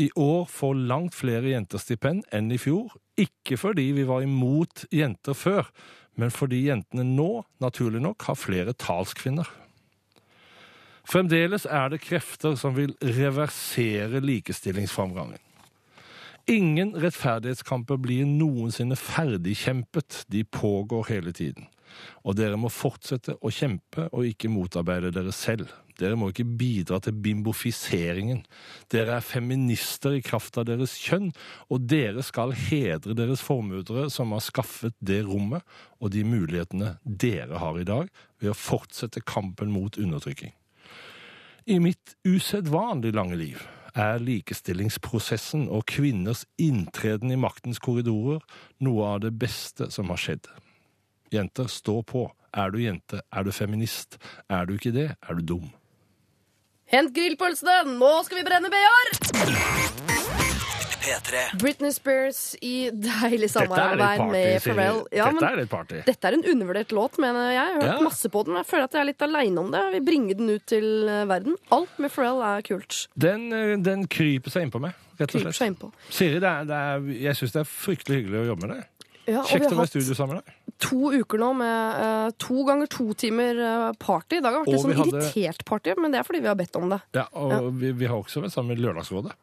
S4: I år får langt flere jenter stipend enn i fjor, ikke fordi vi var imot jenter før, men fordi jentene nå, naturlig nok, har flere talskvinner. Fremdeles er det krefter som vil reversere likestillingsframgangen. Ingen rettferdighetskamper blir noensinne ferdigkjempet. De pågår hele tiden. Og dere må fortsette å kjempe og ikke motarbeide dere selv. Dere må ikke bidra til bimbofiseringen. Dere er feminister i kraft av deres kjønn, og dere skal hedre deres formødre som har skaffet det rommet og de mulighetene dere har i dag, ved å fortsette kampen mot undertrykking. I mitt usedvanlig lange liv er likestillingsprosessen og kvinners inntreden i maktens korridorer noe av det beste som har skjedd. Jenter, stå på. Er du jente? Er du feminist? Er du ikke det, er du dum.
S3: Hent grillpølsene! Nå skal vi brenne BR!
S6: P3.
S3: Britney Spears i deilig
S4: litt
S3: samarbeid med
S4: sier de.
S3: Pharrell. Ja,
S4: Dette
S3: men
S4: er litt party.
S3: dette er en undervurdert låt, mener jeg. Jeg har hørt
S4: Ja.
S3: masse på den, men jeg føler at jeg er litt aleine om det. Jeg vil bringe den ut til eh, verden. Alt med Pharrell er kult.
S4: Den, eh, den kryper seg innpå meg, rett og
S3: Kryper
S4: slett.
S3: seg innpå.
S4: Siri, det er, det er, jeg syns det er fryktelig hyggelig å jobbe med deg.
S3: Ja, og vi
S4: Kjekt å
S3: har
S4: være i
S3: hatt
S4: studio sammen med deg.
S3: to uker nå med eh, to ganger to timer eh, party. I dag har det vært
S4: Og
S3: litt sånn
S4: vi hadde-
S3: irritert party, men det er fordi vi har bedt om det.
S4: Ja, og Vi, vi har også vært sammen med Lørdagsrådet.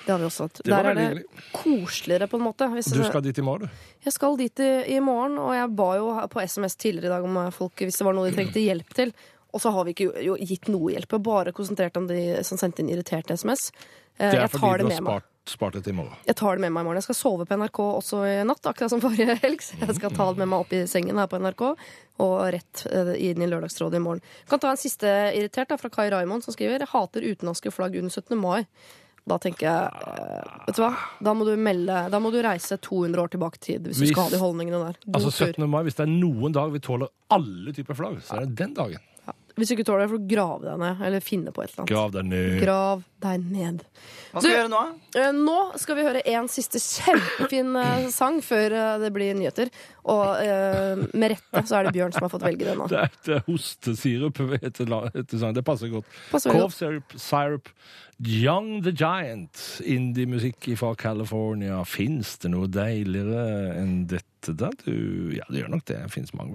S3: Det har vi også hatt.
S4: Det var
S3: Der er det
S4: veldig
S3: koseligere, på en måte. Hvis
S4: Du skal dit i morgen, du.
S3: Jeg skal dit i, i morgen, og jeg ba jo her på SMS tidligere i dag om eh, folk hvis det var noe de trengte hjelp til. Og så har vi ikke jo- jo, gitt noe hjelp. Jeg har bare konsentrert om de som sendte inn irriterte SMS. Eh,
S4: Det er
S3: Jeg
S4: fordi
S3: tar det
S4: du har
S3: med meg.
S4: spart, spart det til i morgen.
S3: Jeg tar det med meg i morgen. Jeg skal sove på NRK også i natt, akkurat som forrige helg. Så jeg skal ta det med meg opp i sengen her på NRK, og rett eh, inn i Lørdagsrådet i morgen. Jeg kan ta en siste irritert da, fra Kai Raimond, som skriver «Jeg hater utenlandske flagg under 17. mai. Da tenker jeg eh, Vet du hva? Da må du, melde, da må du reise 200 år tilbake i tid hvis,
S4: Hvis-
S3: du skal ha de holdningene der. God
S4: Altså
S3: tur.
S4: 17. mai, Hvis det er noen dag vi tåler alle typer flagg, så er det den dagen.
S3: Hvis du ikke tåler det, får du grave deg ned, eller finne på et eller annet.
S4: Grav deg ned.
S3: Grav deg ned.
S2: Hva skal
S3: Du-
S2: vi gjøre nå?
S3: Eh, Nå skal vi høre en siste kjempefin eh, sang før eh, det blir nyheter. Og eh, med rette så er det Bjørn som har fått velge den nå.
S4: Det er, det er hostesirup heter la- heter sangen. Det passer godt.
S3: Passer veldig
S4: Cough syrup, syrup. Young the Giant. Indie-musikk fra California. Fins det noe deiligere enn dette da? Du, ja, det gjør nok det. Det fins mange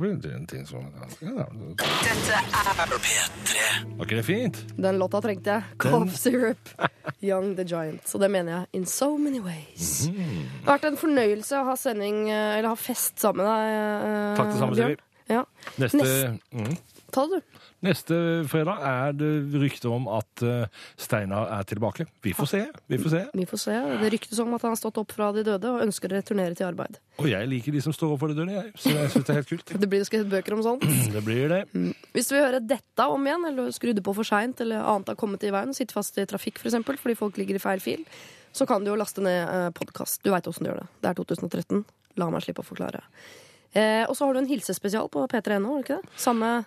S4: ting som ja, Dette er P3. Var ikke det fint?
S3: godt. Den låta trengte jeg. Cough syrup. Young the Giant. Og det mener jeg in so many ways.
S4: Mhm.
S3: Det har vært en fornøyelse å ha sending, eh, eller ha fest sammen med deg, eh,
S4: Takk det samme,
S3: Bjørn.
S4: Siri.
S3: Ja.
S4: Neste,
S3: Neste.
S4: mm.
S3: Ta det, du.
S4: Neste fredag er det rykter om at eh, Steinar er tilbake. Vi får se. Vi får se.
S3: Vi får se. Det ryktes om at han har stått opp fra de døde og ønsker å returnere til arbeid.
S4: Og jeg liker de som står opp for det døde, jeg. Så jeg synes det er helt kult.
S3: Det blir jo skrevet bøker om sånt.
S4: Det blir det.
S3: Hvis du vil høre dette om igjen, eller skrudde på for seint, eller annet har kommet i veien, sitter fast i trafikk f.eks. fordi folk ligger i feil fil, så kan du jo laste ned podkast. Du veit åssen du gjør det. Det er 2013. La meg slippe å forklare. Eh, og så har du en hilsespesial på p3.no, har du ikke det? Samme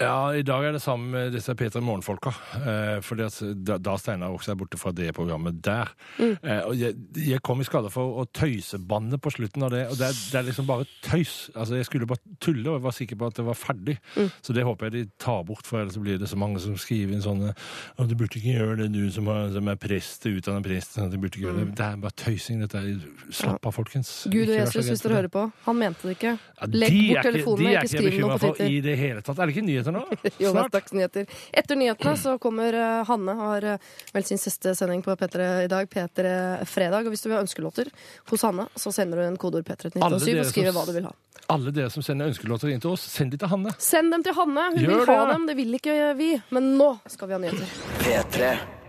S4: Ja, i dag er det sammen med disse Peter Morgenfolka. Eh, fordi at da, da Steinar også er borte fra det programmet der.
S3: Mm.
S4: Eh, og jeg, jeg kom i skade for å tøysebanne på slutten av det. Og det er, det er liksom bare tøys. Altså, jeg skulle bare tulle, og jeg var sikker på at det var ferdig.
S3: Mm.
S4: Så det håper jeg de tar bort, for ellers blir det så mange som skriver inn sånne «Å, Du burde ikke gjøre det, du som, har, som er prest, utdannet prest. sånn, Du burde ikke gjøre det. Det er bare tøysing. Dette er Slapp av, folkens.
S3: Mm. Gud og
S4: Ikke vær så
S3: Jesus,
S4: redd
S3: hvis dere
S4: for det.
S3: hører på. Han mente det ikke.
S4: Ja,
S3: Legg
S4: de er
S3: bort telefonen,
S4: de er
S3: ikke skriv noe
S4: bekymret
S3: på Twitter.
S4: For i det hele tatt. Er det ikke nyheter nå?
S3: Jonas
S4: Snart?
S3: Dagsnyheter. Etter nyhetene så kommer eh, Hanne, har eh, vel sin siste sending på P3 i dag, P3 Fredag. Og hvis du vil ha ønskelåter hos Hanne, så sender du en kodeord P3 til
S4: Alle
S3: 1987
S4: dere
S3: og
S4: som
S3: skriver
S4: s-
S3: hva du vil ha.
S4: Alle dere som sender ønskelåter inn til oss, send de til Hanne.
S3: Send dem til Hanne. Hun
S4: Gjør
S3: vil ha
S4: det.
S3: dem. Det vil ikke vi. Men nå skal vi ha nyheter.
S6: P3.